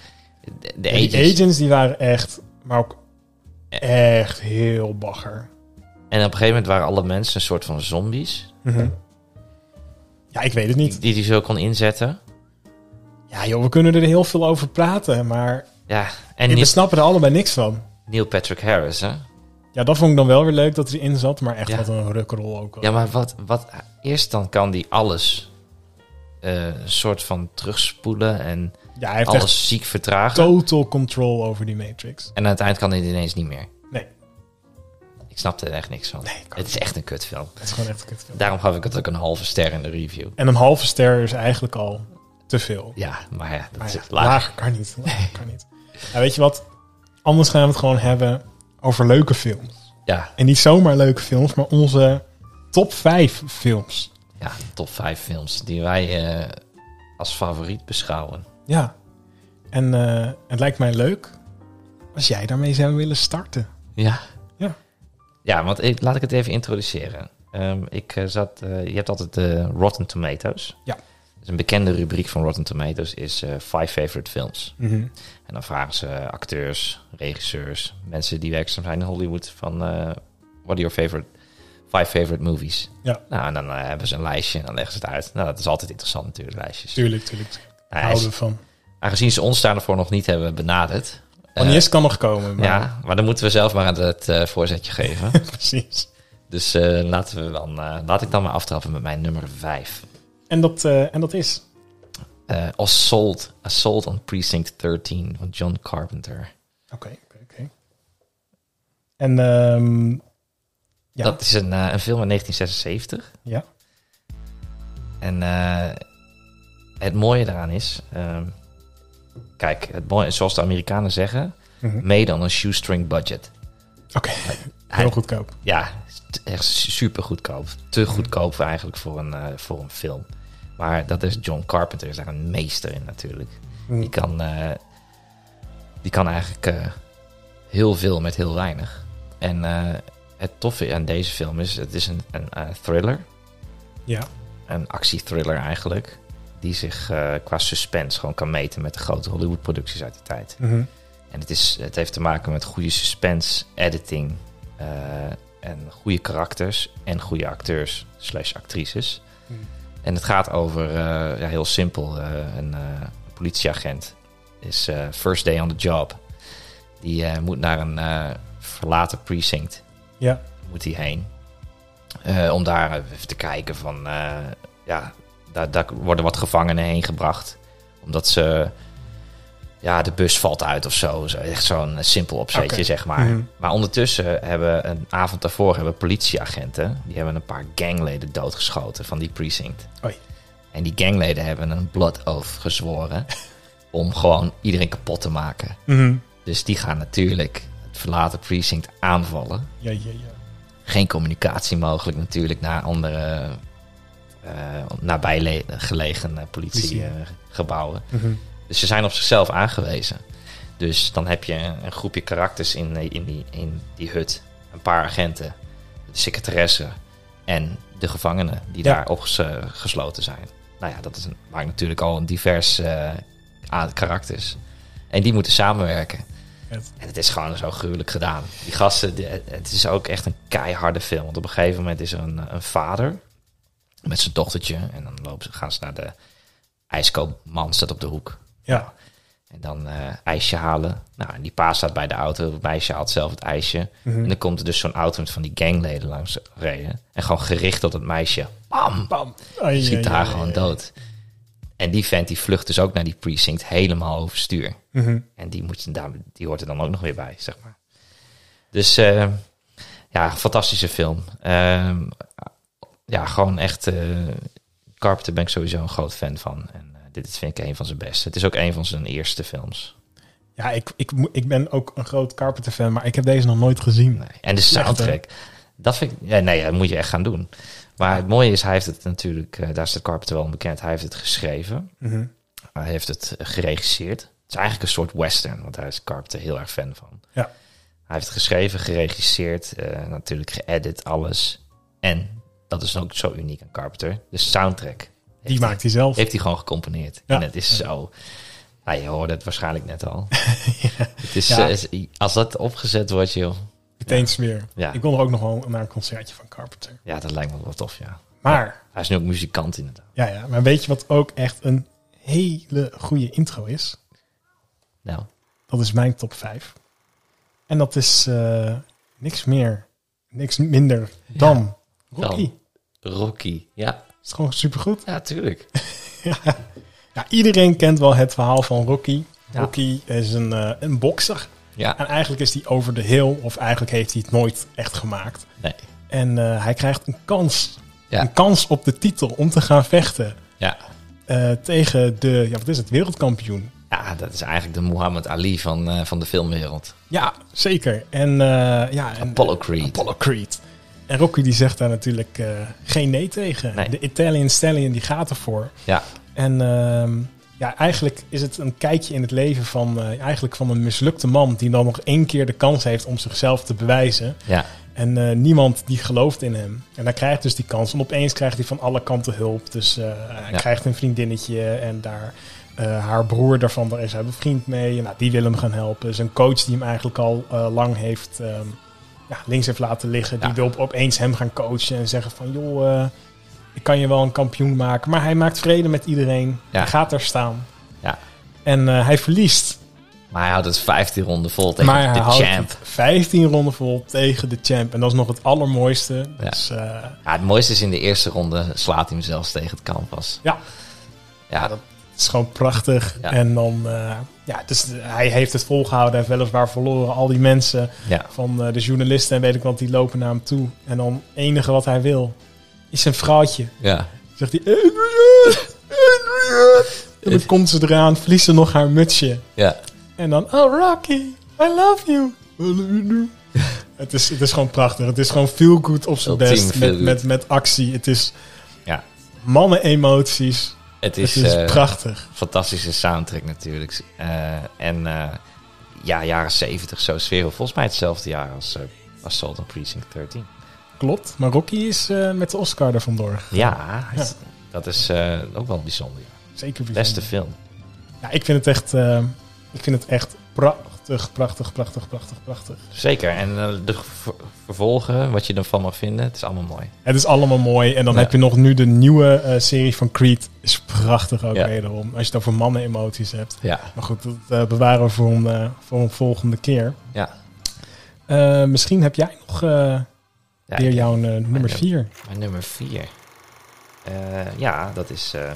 S2: De, de
S1: ja, die
S2: agents...
S1: agents. die waren echt... Maar ook echt heel bagger.
S2: En op een gegeven moment waren alle mensen een soort van zombies.
S1: Mhm. Ja, ik weet het niet.
S2: Die hij zo kon inzetten.
S1: Ja joh, we kunnen er heel veel over praten. Maar
S2: Ja, en
S1: we
S2: Neil,
S1: snappen er allebei niks van.
S2: Neil Patrick Harris, hè?
S1: Ja, dat vond ik dan wel weer leuk dat hij erin zat. Maar echt
S2: Ja.
S1: wat een rukrol ook. wel.
S2: Ja, maar wat, wat eerst dan kan die alles eh, een soort van terugspoelen en
S1: ja, hij heeft
S2: alles
S1: echt
S2: ziek vertragen.
S1: total control over die Matrix.
S2: En aan het eind kan hij het ineens niet meer.
S1: Nee.
S2: Ik snapte er echt niks van.
S1: Nee, kan
S2: het is echt een kutfilm.
S1: Het is gewoon echt een kutfilm.
S2: Daarom gaf ik het ook een halve ster in de review.
S1: En een halve ster is eigenlijk al te veel.
S2: Ja, maar ja, dat
S1: Maar
S2: is
S1: ja,
S2: laag.
S1: lager kan niet. (laughs) Lager kan niet. Ja, weet je wat? Anders gaan we het gewoon hebben over leuke films.
S2: Ja,
S1: En niet zomaar leuke films, maar onze top 5 films.
S2: ja, top 5 films die wij eh, als favoriet beschouwen.
S1: Ja. En eh, het lijkt mij leuk als jij daarmee zou willen starten.
S2: Ja.
S1: Ja.
S2: Ja, want ik, laat ik het even introduceren. Ehm, ik eh, zat, eh, je hebt altijd eh, Rotten Tomatoes.
S1: Ja.
S2: Dus een bekende rubriek van Rotten Tomatoes is eh Five Favorite Films. En dan vragen ze eh, acteurs, regisseurs, mensen die werkzaam zijn in Hollywood van eh, what are your favorite five favorite movies?
S1: Ja.
S2: Nou, en dan eh, hebben ze een lijstje en dan leggen ze het uit. Nou, dat is altijd interessant natuurlijk, lijstjes.
S1: Tuurlijk, tuurlijk. tuurlijk.
S2: Nou,
S1: Houden we
S2: aangezien-
S1: van.
S2: aangezien ze ons daarvoor nog niet hebben benaderd. eh,
S1: Agnes kan nog komen. Maar ja.
S2: ja, maar dan moeten we zelf maar het eh, voorzetje geven.
S1: (laughs) Precies.
S2: Dus eh, laten we dan, eh, laat ik dan maar aftrappen met mijn nummer 5.
S1: En dat, eh, en dat is.
S2: Eh, Assault, Assault on Precinct 13 van John Carpenter.
S1: Oké, oké, oké. En ehm, Ja.
S2: Dat is een, eh, een film uit 1976.
S1: Ja.
S2: En eh, het mooie daaraan is... ehm, kijk, het mooie, zoals de Amerikanen zeggen...
S1: mhm.
S2: Made on a shoestring budget.
S1: oké,
S2: Mm. Hij-
S1: (laughs) heel goedkoop.
S2: ja, t- echt super goedkoop. Te goedkoop eigenlijk voor een, eh, voor een film. Maar dat is John Carpenter, is daar een meester in natuurlijk.
S1: Mm.
S2: Die kan, eh, die kan eigenlijk eh, heel veel met heel weinig. En eh, het toffe aan deze film is, het is een, een eh, thriller.
S1: Ja.
S2: Een actiethriller eigenlijk. Die zich eh, qua suspense gewoon kan meten met de grote Hollywood producties uit de tijd.
S1: Mhm.
S2: En het, is, het heeft te maken met goede suspense, editing eh, en goede karakters en goede acteurs slash actrices.
S1: Hmm.
S2: En het gaat over, eh, ja, heel simpel, eh, een eh, politieagent is eh, first day on the job. Die eh, moet naar een eh, verlaten precinct.
S1: Ja.
S2: Moet hij heen. Eh, om daar even te kijken van, eh, ja, daar, daar worden wat gevangenen heen gebracht. Omdat ze ja, de bus valt uit of zo. Zo, Echt zo'n eh, simpel opzetje,
S1: Oké.
S2: zeg maar.
S1: Mhm.
S2: Maar ondertussen hebben een avond daarvoor hebben politieagenten... die hebben een paar gangleden doodgeschoten van die precinct.
S1: Oei.
S2: En die gangleden hebben een blood oath
S1: (laughs)
S2: gezworen... om gewoon iedereen kapot te maken.
S1: Mhm.
S2: Dus die gaan natuurlijk het verlaten precinct aanvallen.
S1: Ja, ja, ja.
S2: Geen communicatie mogelijk natuurlijk naar andere... eh nabij gelegen
S1: Politie.
S2: politiegebouwen.
S1: Mhm.
S2: Dus ze zijn op zichzelf aangewezen. Dus dan heb je een een groepje karakters in, eh, in, die, in die hut. Een paar agenten, de secretaresse en de gevangenen die
S1: Ja.
S2: daar opgesloten zijn. Nou ja, dat is een, maakt natuurlijk al een divers eh, aan karakters. En die moeten samenwerken.
S1: Vet.
S2: En het is gewoon zo gruwelijk gedaan. Die gasten, die- het is ook echt een keiharde film. Want op een gegeven moment is er een, een vader met zijn dochtertje. En dan lopen ze, gaan ze naar de ijskoopman, staat op de hoek.
S1: Ja.
S2: En dan eh, ijsje halen. Nou, en die pa staat bij de auto. Het meisje haalt zelf het ijsje.
S1: Mhm.
S2: En dan komt er dus zo'n auto met van die gangleden langs rijden. En gewoon gericht op dat meisje. Bam!
S1: Bam. Ai,
S2: Je
S1: ai,
S2: Schiet haar
S1: ai,
S2: gewoon
S1: ai.
S2: dood. En die vent die vlucht dus ook naar die precinct helemaal overstuur.
S1: Mhm.
S2: En die, moet, je- daar- die hoort er dan ook nog weer bij, zeg maar. Dus eh, ja, fantastische film. Ehm, ja, gewoon echt... eh Carpenter ben ik sowieso een groot fan van. En eh, dit vind ik een van zijn beste. Het is ook een van zijn eerste films.
S1: Ja, ik, ik, mo- ik ben ook een groot Carpenter-fan, maar ik heb deze nog nooit gezien.
S2: Nee. En de soundtrack. Dat vind ik, ja, nee, dat moet je echt gaan doen. Maar het mooie is, hij heeft het natuurlijk, eh, daar is de Carpenter wel om bekend, hij heeft het geschreven,
S1: Mhm.
S2: hij heeft het eh, geregisseerd. Het is eigenlijk een soort western, want daar is Carpenter heel erg fan van.
S1: Ja.
S2: Hij heeft het geschreven, geregisseerd, eh, natuurlijk geëdit, alles. En dat is ook zo uniek aan Carpenter, de soundtrack.
S1: Die maakt hij zelf.
S2: Heeft hij gewoon gecomponeerd.
S1: Ja.
S2: En het is zo... Nou, je hoorde het waarschijnlijk net al. het
S1: (laughs)
S2: is,
S1: Ja.
S2: eh, als dat opgezet wordt, joh.
S1: Meteen smeer.
S2: Ja.
S1: Ik wil er ook nog wel naar een concertje van Carpenter.
S2: Ja, dat lijkt me wel tof, ja.
S1: Maar,
S2: Hij is nu ook muzikant inderdaad.
S1: ja, ja, maar weet je wat ook echt een hele goede intro is?
S2: Nou,
S1: Dat is mijn top 5. En dat is eh, niks meer, niks minder dan Rocky.
S2: Dan. Rocky. Ja,
S1: Is gewoon supergoed.
S2: ja tuurlijk.
S1: Ja, iedereen kent wel het verhaal van Rocky.
S2: Ja.
S1: Rocky is een, eh, een bokser.
S2: Ja.
S1: En eigenlijk is hij over de hill, of eigenlijk heeft hij het nooit echt gemaakt.
S2: Nee.
S1: En eh, hij krijgt een kans.
S2: Ja.
S1: Een kans op de titel om te gaan vechten
S2: Ja.
S1: eh, tegen de, ja, wat is het, wereldkampioen.
S2: ja, dat is eigenlijk de Muhammad Ali van, eh, van de filmwereld.
S1: Ja, zeker. En, eh, ja, en
S2: Apollo Creed.
S1: Apollo Creed. En Rocky die zegt daar natuurlijk eh, geen nee tegen.
S2: Nee.
S1: De Italian Stallion die gaat ervoor.
S2: Ja.
S1: En ehm, ja, eigenlijk is het een kijkje in het leven van, eh, eigenlijk van een mislukte man... die dan nog één keer de kans heeft om zichzelf te bewijzen.
S2: Ja.
S1: En eh, niemand die gelooft in hem. En hij krijgt dus die kans. En opeens krijgt hij van alle kanten hulp. Dus eh, hij
S2: Ja.
S1: krijgt een vriendinnetje en daar... eh, haar broer daarvan, daar is hij bevriend mee. En, nou, die wil hem gaan helpen. Zijn coach die hem eigenlijk al eh, lang heeft... ehm, ja, links heeft laten liggen. Die
S2: Ja.
S1: wil op- opeens hem gaan coachen en zeggen van... joh, eh, ik kan je wel een kampioen maken. Maar hij maakt vrede met iedereen.
S2: Ja.
S1: Hij gaat daar staan.
S2: Ja.
S1: En eh, hij verliest.
S2: Maar hij houdt het 15 ronden vol tegen
S1: maar hij
S2: de
S1: houdt
S2: champ.
S1: het 15 ronden vol tegen de champ. En dat is nog het allermooiste.
S2: Ja.
S1: Dus, eh,
S2: Ja, het mooiste is in de eerste ronde slaat hij hem zelfs tegen het canvas.
S1: Ja.
S2: Ja, dat,
S1: Het is gewoon prachtig.
S2: Ja.
S1: En dan, eh, ja, dus hij heeft het volgehouden. Hij heeft weliswaar verloren. Al die mensen
S2: ja.
S1: van eh, de journalisten en weet ik wat, die lopen naar hem toe. En dan het enige wat hij wil, is een vrouwtje.
S2: ja.
S1: Zegt hij, Adrian, Adrian. En dan komt ze eraan, verliest ze nog haar mutsje.
S2: ja.
S1: En dan, oh Rocky, I love you. I love you too. (laughs) het, is, het is gewoon prachtig. Het is gewoon feel good op zijn
S2: Ultiem
S1: best.
S2: feel
S1: Met,
S2: good.
S1: met, met actie. Het is
S2: Ja.
S1: mannen emoties.
S2: Het
S1: Het
S2: is,
S1: is
S2: eh,
S1: prachtig.
S2: fantastische soundtrack natuurlijk. Eh, en eh, ja, jaren 70, zo sfeer. Volgens mij hetzelfde jaar als eh, Assault on Precinct 13.
S1: Klopt, maar Rocky is eh, met de Oscar er vandoor.
S2: Ja,
S1: Ja.
S2: dat is eh, ook wel bijzonder.
S1: Zeker bijzonder.
S2: Beste film.
S1: Ja, ik vind het echt, eh, ik vind het echt prachtig, prachtig, prachtig, prachtig, prachtig.
S2: Zeker. En eh, de ver- vervolgen, wat je ervan mag vinden, het is allemaal mooi.
S1: Het is allemaal mooi. En dan
S2: Ja.
S1: heb je nog nu de nieuwe eh, serie van Creed. Is prachtig ook
S2: Ja.
S1: wederom. Als je het over mannen emoties hebt.
S2: Ja.
S1: Maar goed, dat eh, bewaren we voor een, eh, voor een volgende keer.
S2: Ja.
S1: Eh, misschien heb jij nog eh,
S2: ja
S1: weer
S2: ik-
S1: jouw eh, nummer
S2: ja.
S1: 4.
S2: Maar nummer vier. Eh, ja, dat is eh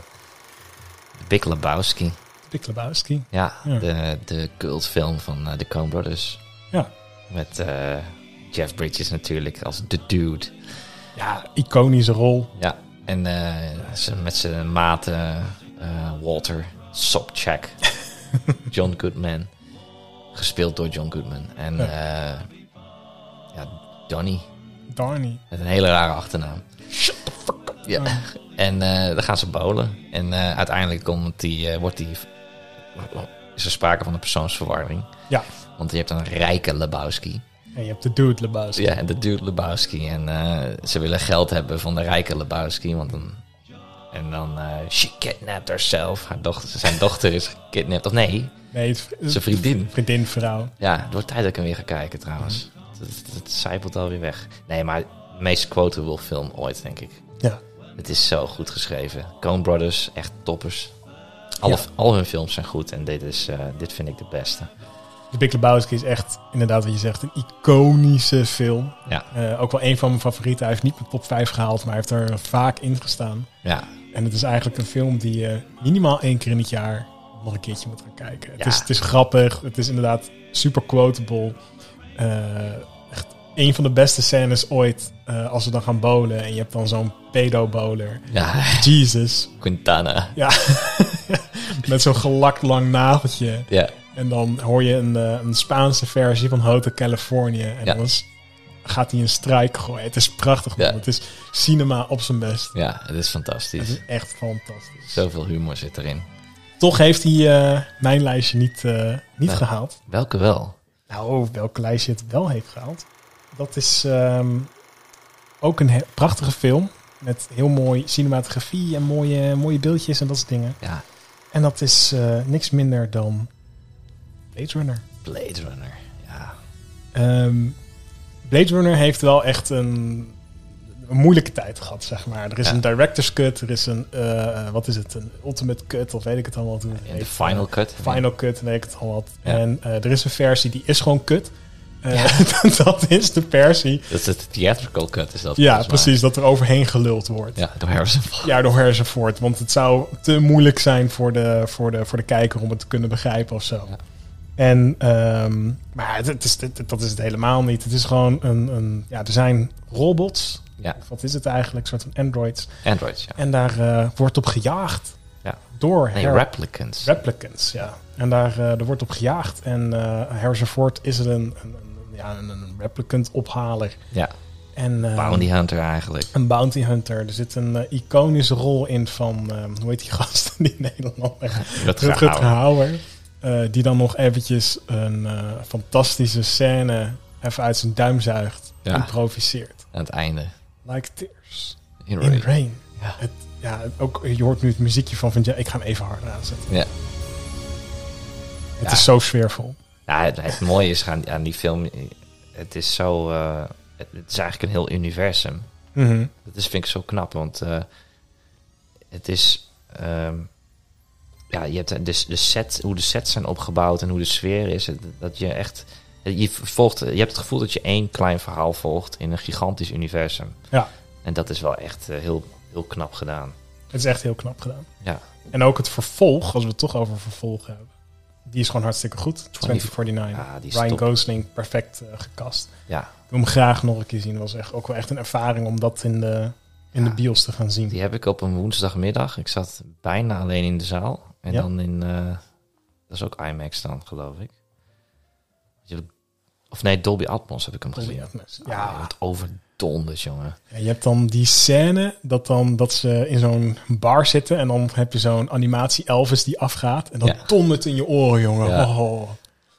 S2: Big Lebowski.
S1: Dick Lebowski.
S2: Ja,
S1: Ja.
S2: de, de cultfilm van eh, de Coen Brothers.
S1: Ja.
S2: Met eh, Jeff Bridges natuurlijk als de dude.
S1: Ja, iconische rol.
S2: Ja, en eh, ze- met zijn maat eh, eh, Walter
S1: (laughs)
S2: Sobchak. John Goodman. Gespeeld door John Goodman. En
S1: Ja.
S2: eh ja, Donnie.
S1: Darnie. Oh.
S2: Met een hele rare achternaam. Ja.
S1: Ja.
S2: En eh dan gaan ze bowlen. En eh, uiteindelijk komt die, eh, wordt die, is er sprake van een persoonsverwarring.
S1: Ja.
S2: Want je hebt een rijke Lebowski.
S1: En je hebt de dude Lebowski.
S2: Ja, en de duurt Lebowski. En eh, ze willen geld hebben van de rijke Lebowski. Want dan, en dan, eh, she kidnapped herself. Haar dochter, zijn dochter is gekidnapt. Of nee,
S1: Nee, het,
S2: zijn vriendin.
S1: vriendin, vrouw.
S2: Ja, het wordt tijd dat ik hem weer ga kijken trouwens.
S1: Mhm.
S2: Het, het, het zijpelt alweer weg. Nee, maar de meest quotable film ooit, denk ik.
S1: Ja.
S2: Het is zo goed geschreven. Coen Brothers, echt toppers. Alle,
S1: Ja.
S2: Al hun films zijn goed en dit, is, eh, dit vind ik de beste.
S1: De Big Dus Lebowski is echt, inderdaad wat je zegt, een iconische film.
S2: Ja.
S1: Eh, ook wel een van mijn favorieten. Hij heeft niet mijn top 5 gehaald, maar hij heeft er vaak in gestaan.
S2: Ja,
S1: En het is eigenlijk een film die je minimaal één keer in het jaar nog een keertje moet gaan kijken. Het,
S2: Ja.
S1: is, het is grappig, het is inderdaad super quotable. Eh, echt een van de beste scènes ooit eh, als we dan gaan bowlen. En je hebt dan zo'n pedo-bowler.
S2: ja.
S1: Jesus.
S2: Quintana.
S1: Ja. Met zo'n gelakt lang nageltje.
S2: Ja,
S1: En dan hoor je een, eh, een Spaanse versie van Hotel California. En
S2: Ja.
S1: dan is- gaat hij een strijk gooien. Het is prachtig, man.
S2: Ja.
S1: Het is cinema op zijn best.
S2: ja, het is
S1: Het
S2: fantastisch.
S1: is echt fantastisch.
S2: Zoveel humor zit erin.
S1: Toch heeft hij eh, mijn lijstje niet, eh, niet
S2: Nee.
S1: gehaald.
S2: Welke wel?
S1: Nou, welk lijstje het wel heeft gehaald. Dat is ehm, ook een he- prachtige film. Met heel mooi cinematografie en mooie, mooie beeldjes en dat soort dingen.
S2: Ja,
S1: En dat is eh, niks minder dan Blade Runner.
S2: Blade Runner. Ja,
S1: Ehm, Blade Runner heeft wel echt een, een moeilijke tijd gehad, zeg maar. Er is
S2: Ja.
S1: een director's cut, er is een, eh, wat is het, een ultimate cut, of weet ik het allemaal. wat het
S2: in de
S1: heet.
S2: final cut.
S1: eh, Final Cut en weet ik het al wat.
S2: Ja.
S1: En eh, er is een versie die is gewoon kut. Eh, (laughs) dat is de versie.
S2: Dat is het theatrical cut, is dat?
S1: Ja,
S2: volgens mij.
S1: precies. Dat er overheen geluld wordt. Ja,
S2: Ja, door Harrison Ford.
S1: door Herzenvoort. Want het zou te moeilijk zijn voor de, voor de, voor de kijker om het te kunnen begrijpen of zo.
S2: Ja.
S1: En, ehm, maar het, het is, het- dat is het helemaal niet. Het is gewoon een, een ja, er zijn robots.
S2: Ja,
S1: Of Wat is het eigenlijk? Een soort van androids.
S2: Android, ja.
S1: En daar eh, wordt op gejaagd.
S2: Ja.
S1: Door
S2: Nee,
S1: Her-
S2: replicants.
S1: Replicants, ja. En daar eh, er wordt op gejaagd. En eh Harrison Ford is er een, een, een- ja, een, een replicant-ophaler.
S2: Ja.
S1: En, eh,
S2: Bounty Hunter eigenlijk.
S1: Een bounty hunter. Er zit een eh, iconische rol in van, eh, hoe heet die gast (laughs) die Nederlander?
S2: Dat gaat
S1: Rutger
S2: houden.
S1: Hauer. Eh, die dan nog eventjes een eh, fantastische scène even uit zijn duim zuigt.
S2: Ja.
S1: Improviseert.
S2: Aan het einde.
S1: Like tears
S2: In
S1: in
S2: Raid.
S1: rain.
S2: Ja.
S1: Het, ja, ook, je hoort nu het muziekje van, van ja, ik ga hem even harder aanzetten.
S2: Ja.
S1: Het
S2: Ja.
S1: is zo sfeervol.
S2: Ja, het, het mooie is aan, aan die film, het is zo, eh, het, het is eigenlijk een heel universum.
S1: Mhm.
S2: Dat is, vind ik zo knap, want eh, het is, ehm, ja, je hebt de, de set, hoe de sets zijn opgebouwd en hoe de sfeer is, het- dat je echt, je volgt, je hebt het gevoel dat je één klein verhaal volgt in een gigantisch universum.
S1: Ja.
S2: En dat is wel echt eh, heel, heel knap gedaan.
S1: Het is echt heel knap gedaan.
S2: Ja.
S1: En ook het vervolg, als we het toch over vervolg hebben. Die is gewoon hartstikke goed. 2049.
S2: Ja, Ah, die is
S1: Ryan
S2: top.
S1: Gosling perfect eh, gekast.
S2: Ja.
S1: Ik wil hem graag nog een keer zien. was echt, ook wel echt een ervaring om dat in de, in
S2: Ja.
S1: de bios te gaan zien.
S2: Die heb ik op een woensdagmiddag. Ik zat bijna alleen in de zaal. En
S1: Ja.
S2: dan in... eh, dat is ook IMAX dan, geloof ik. Je- Of nee, Dolby Atmos heb ik hem
S1: Dolby
S2: gezien.
S1: Atmos.
S2: Ah,
S1: Ja.
S2: wat overdonderd, jongen.
S1: Ja, je hebt dan die scène dat, dan, dat ze in zo'n bar zitten. En dan heb je zo'n animatie Elvis die afgaat. En dan
S2: Ja.
S1: dondert in je oren, jongen.
S2: Ja.
S1: Oh,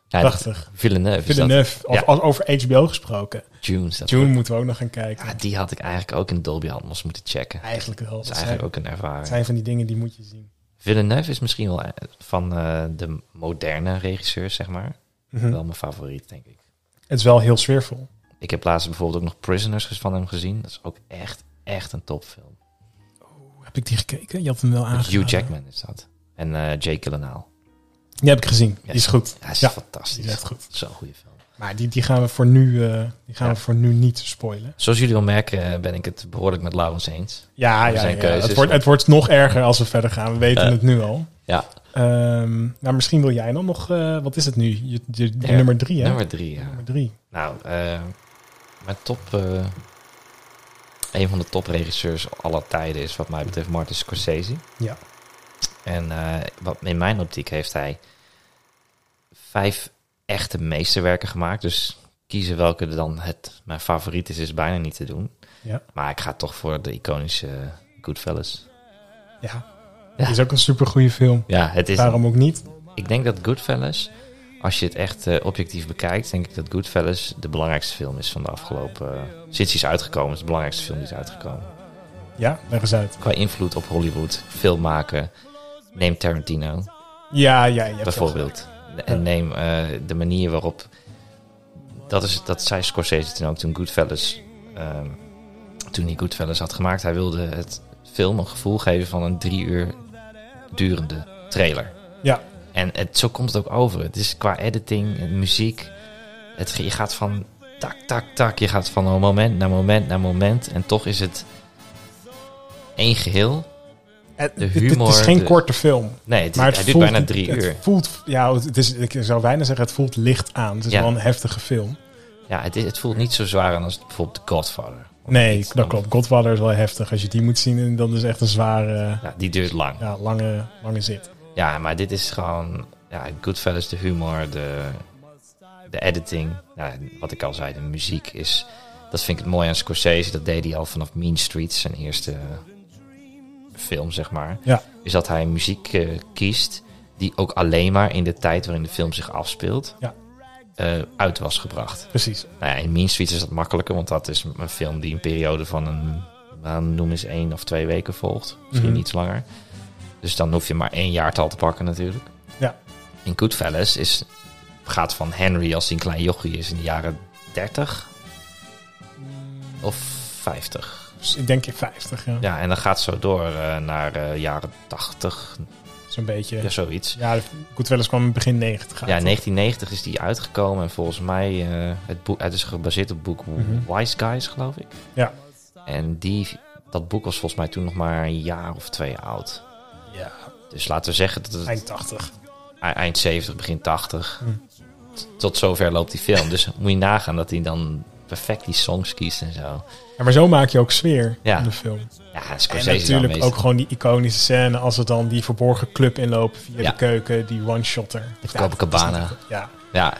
S2: Ja,
S1: prachtig.
S2: Villeneuve is dat.
S1: Villeneuve. Of,
S2: Ja.
S1: als over HBO gesproken.
S2: June is dat.
S1: June moeten we ook nog gaan kijken.
S2: Ja, die had ik eigenlijk ook in Dolby Atmos moeten checken.
S1: Eigenlijk wel.
S2: Dat
S1: Dat
S2: is eigenlijk
S1: zijn,
S2: ook een
S1: het
S2: ervaring.
S1: zijn van die dingen die moet je zien.
S2: Villeneuve is misschien wel eh, van eh, de moderne regisseurs, zeg maar.
S1: Mhm.
S2: Wel mijn favoriet, denk ik.
S1: Het is wel heel sfeervol.
S2: Ik heb laatst bijvoorbeeld ook nog Prisoners van hem gezien. Dat is ook echt, echt een topfilm.
S1: Ah, Heb ik die gekeken? Je had hem wel
S2: Met
S1: aangezien.
S2: Hugh Jackman is dat. En eh Jake Gyllenhaal.
S1: Die heb ik gezien.
S2: Ja.
S1: Die is goed.
S2: Hij is
S1: Ja, Die
S2: fantastisch.
S1: is echt goed.
S2: Zo'n goede film.
S1: Maar die, die gaan we voor nu, eh, die gaan
S2: Ja.
S1: we voor nu niet spoilen.
S2: Zoals jullie wel merken eh, ben ik het behoorlijk met Laurens eens.
S1: Ja,
S2: Er
S1: ja,
S2: zijn
S1: ja.
S2: keuzes.
S1: Het, wordt, het wordt nog erger als we verder gaan. We weten
S2: Ja.
S1: het nu al.
S2: Ja,
S1: Ehm, nou, misschien wil jij dan nog, eh, wat is het nu? Je, je- je
S2: Ja,
S1: nummer drie, hè?
S2: Nummer drie, ja.
S1: Nummer drie.
S2: Nou, eh, mijn top... eh, een van de topregisseurs aller tijden is wat mij betreft Martin Scorsese.
S1: Ja.
S2: En eh, wat in mijn optiek heeft hij vijf echte meesterwerken gemaakt. Dus kiezen welke er dan het, mijn favoriet is, is bijna niet te doen.
S1: Ja.
S2: Maar ik ga toch voor de iconische Goodfellas.
S1: Ja.
S2: Ja.
S1: Is ook een supergoeie film.
S2: Ja, het is
S1: Daarom ook niet.
S2: Ik denk dat Goodfellas, als je het echt eh, objectief bekijkt, denk ik dat Goodfellas de belangrijkste film is van de afgelopen. eh, sinds hij is uitgekomen, is de belangrijkste film die is uitgekomen.
S1: Ja, leg eens uit.
S2: Qua invloed op Hollywood, film maken. Neem Tarantino
S1: Ja, ja, ja.
S2: bijvoorbeeld. En neem eh, de manier waarop. Dat, is, dat zei Scorsese toen ook, toen Goodfellas. ehm, toen hij Goodfellas had gemaakt, hij wilde het film een gevoel geven van een drie uur durende trailer.
S1: Ja.
S2: En het, zo komt het ook over. Het is qua editing, en muziek. Het, ge- je gaat van tak, tak, tak. Je gaat van moment naar moment naar moment. En toch is het één geheel.
S1: Het,
S2: De
S1: het- het
S2: humor,
S1: is geen
S2: de-
S1: korte film.
S2: Nee, het,
S1: Maar het
S2: hij duurt
S1: voelt,
S2: bijna drie
S1: het
S2: uur.
S1: Voelt, ja, het is, ik zou bijna zeggen, het voelt licht aan. Het is
S2: Ja.
S1: wel een heftige film.
S2: Ja, het, is- het voelt niet zo zwaar aan als bijvoorbeeld The Godfather. Of
S1: Nee,
S2: iets
S1: dat
S2: dan-
S1: klopt. Godfather is wel heftig. Als je die moet zien, dan is echt een zware,
S2: Ja, die duurt lang.
S1: ja, lange, lange zit.
S2: Ja, maar dit is gewoon... Ja, Goodfellas, de humor, de, de editing. Ja, wat ik al zei, de muziek is... Dat vind ik het mooi aan Scorsese. Dat deed hij al vanaf Mean Streets, zijn eerste eh, film, zeg maar.
S1: Ja.
S2: Is dat hij muziek eh, kiest die ook alleen maar in de tijd waarin de film zich afspeelt...
S1: Ja.
S2: eh, uit was gebracht.
S1: Precies.
S2: Nou ja, in Mean Streets is dat makkelijker, want dat is een film die een periode van een, nou, noem eens één of twee weken volgt. Misschien
S1: Mhm.
S2: iets langer. Dus dan hoef je maar één jaartal te pakken natuurlijk.
S1: Ja.
S2: In Goodfellas is, gaat van Henry als hij een klein jochie is in de jaren 30 of 50.
S1: Mm. Dus ik denk in 50, ja.
S2: Ja, en dan gaat zo door eh, naar eh, jaren 80,
S1: Zo'n beetje.
S2: ja, zoiets.
S1: Ja, Goodfellas kwam in begin 90 uit.
S2: Ja, in 1990 is die uitgekomen en volgens mij eh, het boek, het is gebaseerd op het boek
S1: Mhm.
S2: Wise Guys, geloof ik.
S1: Ja.
S2: En die, dat boek was volgens mij toen nog maar een jaar of twee oud.
S1: Ja,
S2: Dus laten we zeggen dat het eind,
S1: eind 80.
S2: eind 70, begin 80.
S1: Mhm.
S2: T- Tot zover loopt die film. Dus moet je nagaan dat hij dan perfect die songs kiest en zo.
S1: Ja, maar zo maak je ook sfeer
S2: Ja.
S1: in de film.
S2: Ja,
S1: En
S2: Scorsese is wel
S1: natuurlijk
S2: meester.
S1: ook gewoon die iconische scène als ze dan die verborgen club inlopen via
S2: Ja.
S1: de keuken, die one-shotter.
S2: De Copacabana.
S1: Ja,
S2: Ja,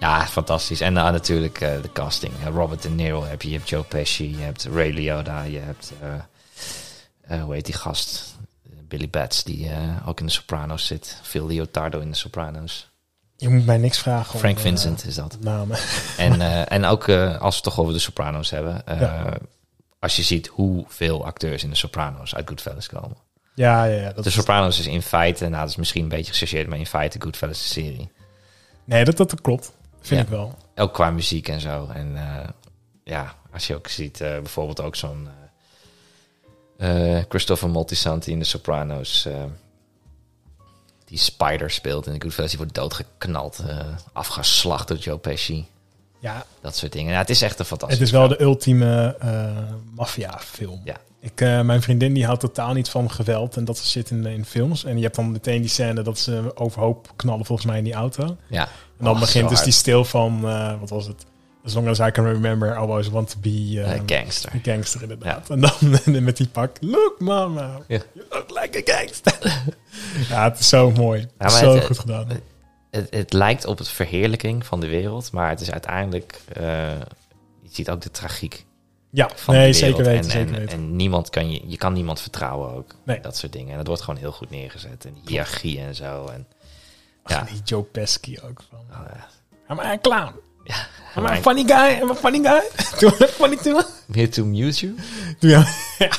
S2: ja, fantastisch. En dan natuurlijk eh, de casting. Eh, Robert De Niro heb je, je hebt Joe Pesci, je hebt Ray Liotta, je hebt... eh, eh, hoe heet die gast? Billy Bats, die eh, ook in de Sopranos zit. Phil Leotardo in de Sopranos.
S1: je moet mij niks vragen. om,
S2: Frank
S1: eh,
S2: Vincent is dat.
S1: namen. (laughs)
S2: En, eh, en ook eh, als we het toch over de Sopranos hebben. eh,
S1: Ja.
S2: Als je ziet hoeveel acteurs in de Sopranos uit Goodfellas komen.
S1: Ja, ja, ja, dat
S2: de
S1: is
S2: Sopranos is in feite, nou dat is misschien een beetje gechargeerd, maar in feite Goodfellas de serie.
S1: Nee, dat, dat klopt. Vind
S2: Ja.
S1: ik wel.
S2: ook qua muziek en zo. En eh, ja, als je ook ziet, eh, bijvoorbeeld ook zo'n eh, eh, Christopher Moltisanti in de Sopranos. eh, die Spider speelt in de Goodfellas. Die wordt doodgeknald, eh, afgeslacht door Joe Pesci.
S1: Ja,
S2: Dat soort dingen. Ja, het is echt een fantastisch.
S1: het is wel de ultieme eh maffia-film.
S2: Ja.
S1: Ik, eh, mijn vriendin die houdt totaal niet van geweld en dat zit in, in films. En je hebt dan meteen die scène dat ze overhoop knallen volgens mij in die auto.
S2: Ja.
S1: En dan
S2: Och,
S1: begint
S2: zo
S1: dus die
S2: hard.
S1: stil van, eh, wat was het? As long as I can remember, I always want to be eh,
S2: Eh, gangster.
S1: een gangster inderdaad. En dan (laughs) met die pak, look mama,
S2: Ja.
S1: you look like a gangster. (laughs) ja, het is zo mooi.
S2: maar
S1: zo
S2: het- eh,
S1: goed gedaan.
S2: het- Het, het lijkt op het verheerlijking van de wereld, maar het is uiteindelijk. eh, je ziet ook de tragiek
S1: ja,
S2: van
S1: nee,
S2: die
S1: zeker
S2: wereld.
S1: weten,
S2: en,
S1: zeker
S2: en,
S1: weten.
S2: en niemand kan je, je kan niemand vertrouwen ook.
S1: Nee.
S2: Dat soort dingen. En dat wordt gewoon heel goed neergezet. En die hiërarchie en zo. En, ja.
S1: Ach, die Joe Pesky ook. Van.
S2: Oh, ja.
S1: Am I a clown? Am I a
S2: Maar
S1: funny guy? Am I a funny guy? (laughs) Doe I funny too?
S2: I'm here to amuse you?
S1: Doe ja. (laughs) ja.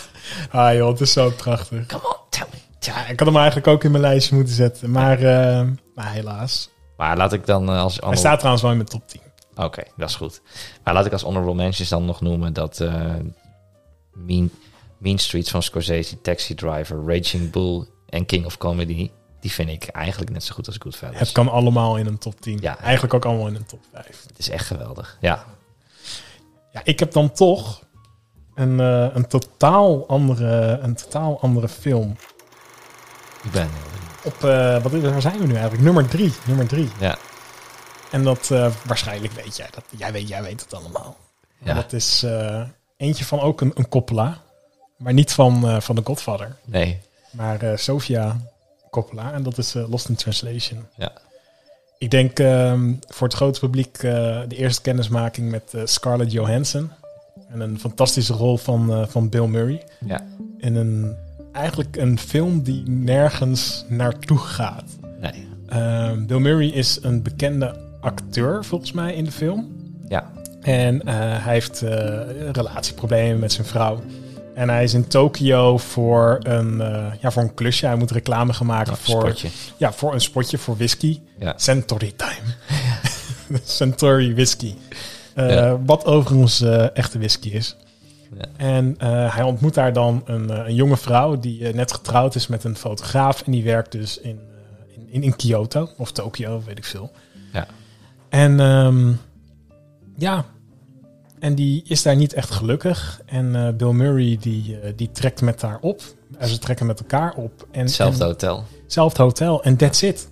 S1: Ah joh, het is zo prachtig.
S2: Come on, tell me. tell me.
S1: Ja, ik had hem eigenlijk ook in mijn lijstje moeten zetten. Maar, eh, maar helaas.
S2: Maar laat ik dan eh, als...
S1: Hij
S2: honor-
S1: staat trouwens wel in mijn top 10.
S2: Oké, dat is goed. Maar laat ik als honorable mentions dan nog noemen dat... eh, mean, mean Streets van Scorsese, Taxi Driver, Raging Bull en King of Comedy... Die vind ik eigenlijk net zo goed als Goodfellas.
S1: Het kan allemaal in een top 10.
S2: Ja.
S1: Eigenlijk ook allemaal in een top 5.
S2: Het is echt geweldig. Ja,
S1: Ja, ik heb dan toch een, eh, een, totaal, andere, een totaal andere film.
S2: ik ben heel benieuwd.
S1: op, eh, wat, is- waar zijn we nu eigenlijk? Nummer drie. Nummer drie.
S2: Ja.
S1: En dat eh, waarschijnlijk weet jij dat. Jij weet, jij weet het allemaal.
S2: Ja.
S1: Dat is eh, eentje van ook een, een Coppola. Maar niet van, eh, van de Godfather.
S2: Nee.
S1: Maar eh, Sofia Coppola. En dat is eh, Lost in Translation.
S2: Ja.
S1: Ik denk ehm, voor het grote publiek eh, de eerste kennismaking met eh, Scarlett Johansson. En een fantastische rol van, eh, van Bill Murray.
S2: Ja.
S1: In een, eigenlijk een film die nergens naartoe gaat.
S2: Nee.
S1: Ehm, Bill Murray is een bekende acteur volgens mij in de film.
S2: Ja.
S1: En eh, hij heeft eh, relatieproblemen met zijn vrouw. En hij is in Tokio voor een, eh, ja, voor een klusje. Hij moet reclame gaan maken
S2: Een
S1: voor,
S2: spotje.
S1: ja, voor een spotje voor whisky.
S2: Ja.
S1: Centauri time. (laughs) Centauri whisky. Eh,
S2: Ja.
S1: Wat overigens eh, echte whisky is.
S2: Ja.
S1: En eh, hij ontmoet daar dan een, eh, een jonge vrouw die eh, net getrouwd is met een fotograaf. En die werkt dus in, eh, in, in, in Kyoto of Tokio, weet ik veel.
S2: Ja.
S1: En ehm, ja, en die is daar niet echt gelukkig. En eh, Bill Murray die, eh, die trekt met haar op. En ze trekken met elkaar op. En,
S2: Hetzelfde
S1: en-
S2: hotel.
S1: hetzelfde hotel. En that's it.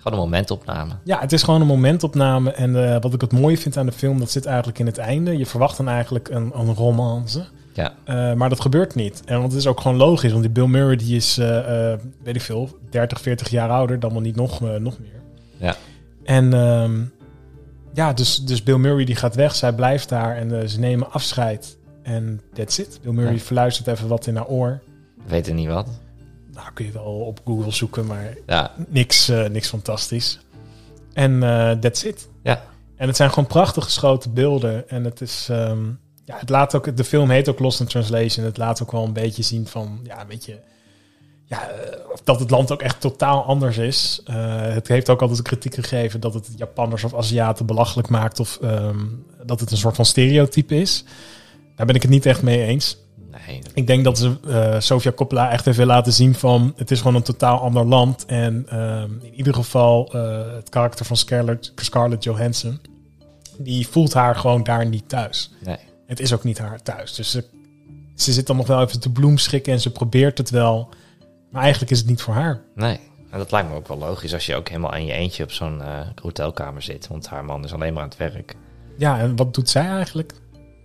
S2: Gewoon een momentopname.
S1: Ja, het is gewoon een momentopname. En eh, wat ik het mooie vind aan de film, dat zit eigenlijk in het einde. Je verwacht dan eigenlijk een, een romance.
S2: Ja.
S1: Eh, maar dat gebeurt niet. En want het is ook gewoon logisch. Want die Bill Murray die is, eh, eh, weet ik veel, 30, 40 jaar ouder. Dan wel niet nog, eh, nog meer.
S2: Ja.
S1: En ehm, ja, dus, dus Bill Murray die gaat weg. Zij blijft daar en eh, ze nemen afscheid. En that's it. Bill Murray
S2: Ja.
S1: verluistert even wat in haar oor.
S2: We weten niet wat.
S1: Nou, kun je wel op Google zoeken, maar
S2: Ja.
S1: niks, eh, niks fantastisch. En eh, that's it.
S2: Ja.
S1: En het zijn gewoon prachtig geschoten beelden. En het is. ehm, ja, het laat ook. De film heet ook Lost in Translation. Het laat ook wel een beetje zien van. Ja, een beetje. Ja, eh, dat het land ook echt totaal anders is. Eh, het heeft ook altijd kritiek gegeven dat het Japanners of Aziaten belachelijk maakt. Of ehm, dat het een soort van stereotype is. Daar ben ik het niet echt mee eens.
S2: Nee.
S1: Ik denk dat ze eh, Sofia Coppola echt even laten zien van... het is gewoon een totaal ander land. En ehm, in ieder geval eh, het karakter van Scarlett, Scarlett Johansson... die voelt haar gewoon daar niet thuis.
S2: Nee.
S1: Het is ook niet haar thuis. Dus ze, ze zit dan nog wel even te bloemschikken en ze probeert het wel. Maar eigenlijk is het niet voor haar.
S2: Nee. En dat lijkt me ook wel logisch als je ook helemaal aan je eentje op zo'n eh, hotelkamer zit. Want haar man is alleen maar aan het werk.
S1: Ja, en wat doet zij eigenlijk?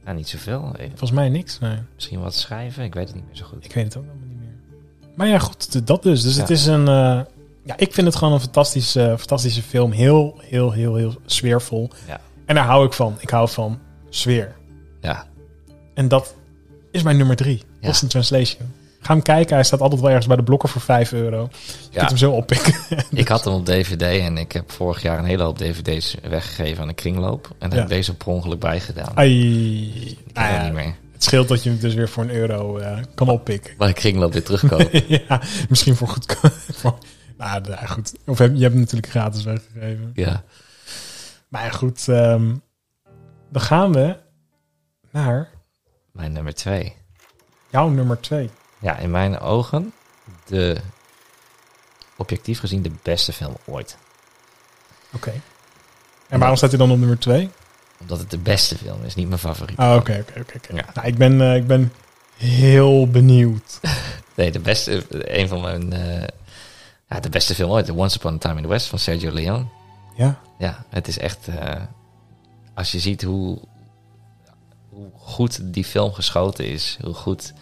S2: Ja, niet zoveel. Eh,
S1: Volgens mij niks. Nee,
S2: Misschien wat schrijven. Ik weet het niet meer zo goed.
S1: ik weet het ook allemaal niet meer. Maar ja, goed, dat dus. Dus het
S2: Ja.
S1: is een... eh, ja, ik vind het gewoon een fantastische, eh, fantastische film. Heel, heel, heel, heel sfeervol.
S2: Ja.
S1: En daar hou ik van. Ik hou van sfeer. (laughs)
S2: Ja.
S1: En dat is mijn nummer drie.
S2: Ja.
S1: Lost in Translation. Ga hem kijken. Hij staat altijd wel ergens bij de blokker voor 5 euro. Je
S2: Ja.
S1: kunt hem zo
S2: (laughs)
S1: oppikken.
S2: Ik had hem op DVD en ik heb vorig jaar een hele hoop DVD's weggegeven aan de kringloop. En daar
S1: Ja.
S2: heb ik deze per ongeluk bij gedaan.
S1: Ai.
S2: Ik
S1: Nou
S2: heb
S1: ja,
S2: hem niet meer.
S1: het scheelt dat je hem dus weer voor een euro eh, kan oppikken.
S2: Maar de kringloop weer
S1: (laughs)
S2: terugkopen.
S1: ja, misschien voor goed. (laughs) voor, nou, nou, goed. Of heb, je hebt hem natuurlijk gratis weggegeven.
S2: ja.
S1: Maar ja, goed, ehm, dan gaan we naar
S2: Mijn nummer twee.
S1: jouw nummer twee.
S2: Ja, in mijn ogen de objectief gezien de beste film ooit.
S1: Oké. En waarom staat hij dan op nummer twee?
S2: Omdat het de beste film is, niet mijn favoriet.
S1: Ah, oké, oké, oké. oké.
S2: Ja.
S1: Nou, ik ben, eh, ik ben heel benieuwd.
S2: Nee, de beste, een van mijn, eh, ja, de beste film ooit. The Once Upon a Time in the West van Sergio Leone.
S1: Ja,
S2: Ja, het is echt, eh, als je ziet hoe, hoe goed die film geschoten is, hoe goed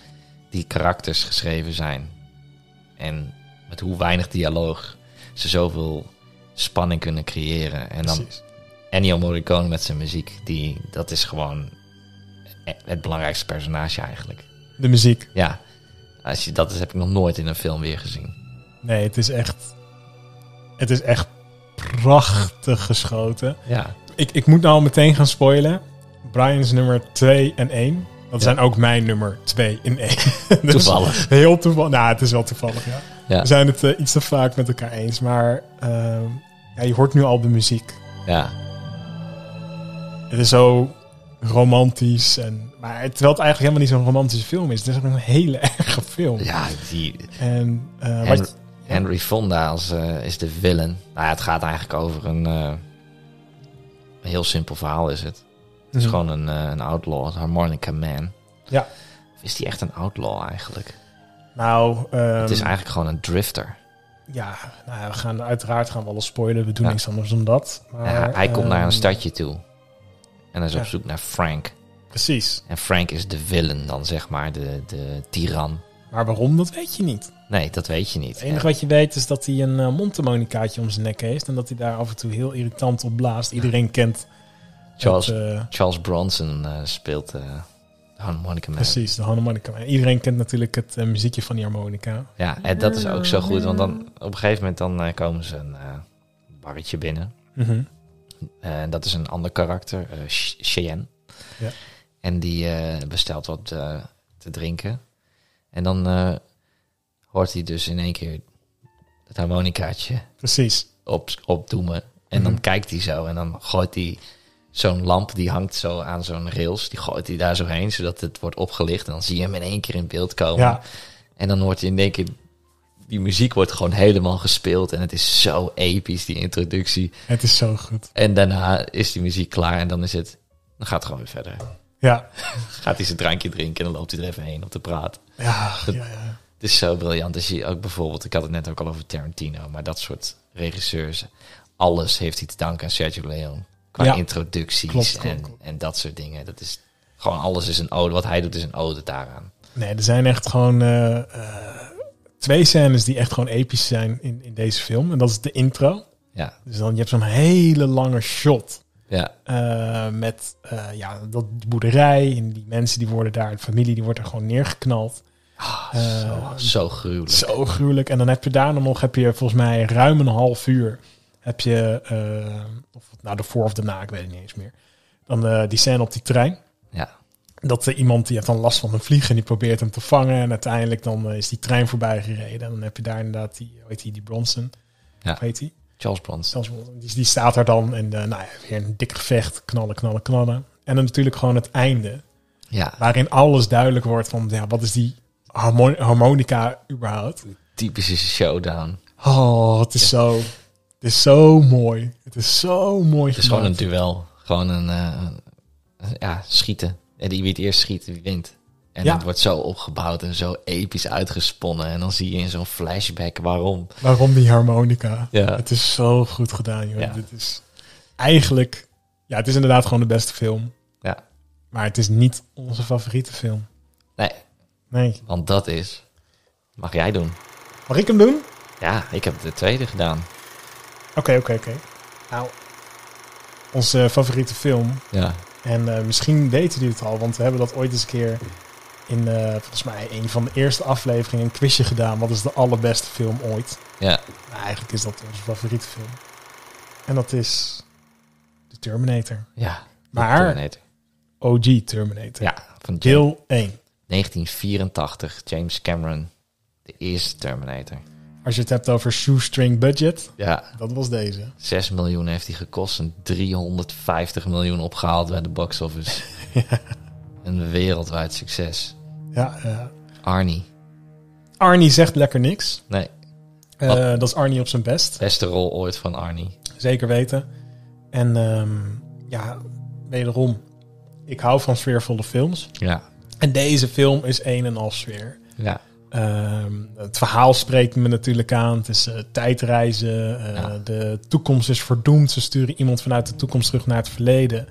S2: die karakters geschreven zijn. En met hoe weinig dialoog ze zoveel spanning kunnen creëren. En dan
S1: precies.
S2: Ennio Morricone met zijn muziek, die, dat is gewoon e- het belangrijkste personage eigenlijk.
S1: De muziek.
S2: Ja, als je, dat is, heb ik nog nooit in een film weer gezien.
S1: Nee, het is echt... Het is echt prachtig geschoten.
S2: Ja,
S1: Ik, ik moet nou al meteen gaan spoilen. Brian's nummer 2 en 1. Dat
S2: Ja.
S1: zijn ook mijn nummer 2 en (laughs) 1.
S2: (laughs)
S1: (laughs)
S2: toevallig.
S1: Heel toevallig. Nou, het is wel toevallig, ja.
S2: Ja.
S1: We zijn het eh, iets te vaak met elkaar eens. Maar ehm, ja, je hoort nu al de muziek.
S2: Ja,
S1: Het is zo romantisch. En, maar het- terwijl het eigenlijk helemaal niet zo'n romantische film is. Het is ook een hele (laughs) erge film.
S2: ja die,
S1: En, eh,
S2: Hen-
S1: wat-
S2: Henry Fonda als, eh, is de villain. Nou ja, het gaat eigenlijk over een, eh, een heel simpel verhaal is het. Het is
S1: Mhm.
S2: gewoon een, eh, een outlaw, een harmonica man.
S1: Ja.
S2: Of Is die echt een outlaw eigenlijk?
S1: Nou, ehm,
S2: het is eigenlijk gewoon een drifter.
S1: Ja, nou ja, we gaan uiteraard gaan we alles spoilen. We doen
S2: Ja.
S1: niks anders dan dat. Maar,
S2: Ja, hij komt naar
S1: ehm,
S2: een stadje toe. En hij is op
S1: ja.
S2: zoek naar Frank.
S1: Precies.
S2: En Frank is de villain dan, zeg maar. De, de tiran.
S1: Maar waarom, dat weet je niet.
S2: Nee, dat weet je niet.
S1: Het enige wat je weet is dat hij een eh, mondharmonicaatje om zijn nek heeft. En dat hij daar af en toe heel irritant op blaast. Iedereen kent
S2: Charles,
S1: het, eh,
S2: Charles Bronson eh, speelt eh de harmonica man.
S1: Precies, de harmonica. Iedereen kent natuurlijk het eh, muziekje van die harmonica.
S2: Ja, en dat is ook zo goed. Want dan, op een gegeven moment dan eh, komen ze een eh, barretje binnen. Eh, En dat is een ander karakter, eh, Ch- Cheyenne.
S1: Ja.
S2: En die eh, bestelt wat eh, te drinken. En dan eh, hoort hij dus in één keer het harmonicaatje
S1: Precies.
S2: op, opdoemen. En dan
S1: Mhm.
S2: kijkt hij zo en dan gooit hij zo'n lamp, die hangt zo aan zo'n rails. Die gooit hij daar zo heen, zodat het wordt opgelicht. En dan zie je hem in één keer in beeld komen.
S1: Ja,
S2: En dan hoort je in één keer... Die muziek wordt gewoon helemaal gespeeld. En het is zo episch, die introductie.
S1: het is zo goed.
S2: En daarna is die muziek klaar en dan is het... Dan gaat het gewoon weer verder.
S1: Ja,
S2: Gaat hij zijn drankje drinken en dan loopt hij er even heen om te praten.
S1: ja, ja, ja.
S2: Het is zo briljant. Als je ook bijvoorbeeld, ik had het net ook al over Tarantino, maar dat soort regisseurs, alles heeft hij te danken aan Sergio Leone. Qua
S1: Ja.
S2: introducties
S1: Klopt, klopt,
S2: en,
S1: klopt.
S2: en dat soort dingen. Dat is gewoon alles is een ode. Wat hij doet is een ode daaraan.
S1: Nee, er zijn echt gewoon eh, eh, twee scènes die echt gewoon episch zijn in, in deze film. En dat is de intro.
S2: Ja,
S1: Dus dan je hebt zo'n hele lange shot.
S2: ja,
S1: eh, met eh, ja, dat die boerderij en die mensen die worden daar, de familie die wordt er gewoon neergeknald. Eh,
S2: zo, zo gruwelijk.
S1: Zo gruwelijk. En dan heb je daarna nog, heb je volgens mij ruim een half uur, heb je, eh, of nou de voor of daarna, ik weet het niet eens meer. Dan eh, die scène op die trein.
S2: Ja,
S1: Dat eh, iemand die heeft dan last van een vlieg en die probeert hem te vangen. En uiteindelijk dan eh, is die trein voorbij gereden. En dan heb je daar inderdaad die, hoe heet die, die Bronson.
S2: Ja.
S1: Hoe heet die?
S2: Charles Bronson.
S1: Zelfs, die, die staat daar dan en eh, nou ja, weer een dik gevecht. Knallen, knallen, knallen. En dan natuurlijk gewoon het einde.
S2: Ja,
S1: Waarin alles duidelijk wordt van ja, wat is die harmon- harmonica überhaupt.
S2: typische showdown.
S1: Oh, het is zo. Het is zo mooi. Het is zo mooi.
S2: Het is gewoon een duel. Gewoon een, eh, een- ja, schieten. En die wie het eerst schiet, die wint. En
S1: Ja.
S2: het wordt zo opgebouwd en zo episch uitgesponnen. En dan zie je in zo'n flashback waarom.
S1: Waarom die harmonica?
S2: Ja.
S1: Het is zo goed gedaan, joh.
S2: Ja.
S1: Dit is eigenlijk... Ja, het is inderdaad gewoon de beste film.
S2: Ja.
S1: Maar het is niet onze favoriete film.
S2: Nee,
S1: Nee.
S2: want dat is... Mag jij doen?
S1: Mag ik hem doen?
S2: Ja, ik heb de tweede gedaan.
S1: Oké, oké, oké. Nou, onze favoriete film.
S2: Ja.
S1: En eh, misschien weten jullie het al, want we hebben dat ooit eens een keer... in, eh, volgens mij, een van de eerste afleveringen een quizje gedaan. Wat is de allerbeste film ooit?
S2: Ja.
S1: Nou, eigenlijk is dat onze favoriete film. En dat is... The Terminator.
S2: Ja.
S1: Maar-
S2: Terminator.
S1: OG Terminator.
S2: Ja, van James-
S1: Deel 1.
S2: 1984. James Cameron. De eerste Terminator.
S1: Als je het hebt over shoestring budget,
S2: Ja.
S1: dat was deze.
S2: 6 miljoen heeft hij gekost en 350 miljoen opgehaald bij de box (laughs) office. Een wereldwijd succes.
S1: Ja, eh,
S2: Arnie.
S1: Arnie zegt lekker niks.
S2: Nee,
S1: Eh,
S2: Wat?
S1: dat is Arnie op zijn best,
S2: beste rol ooit van Arnie.
S1: zeker weten. En ehm, ja, wederom, ik hou van sfeervolle films.
S2: Ja.
S1: En deze film is een en al sfeer.
S2: Ja.
S1: Ehm, het verhaal spreekt me natuurlijk aan. Het is eh, tijdreizen. eh,
S2: Ja.
S1: De toekomst is verdoemd. Ze sturen iemand vanuit de toekomst terug naar het verleden.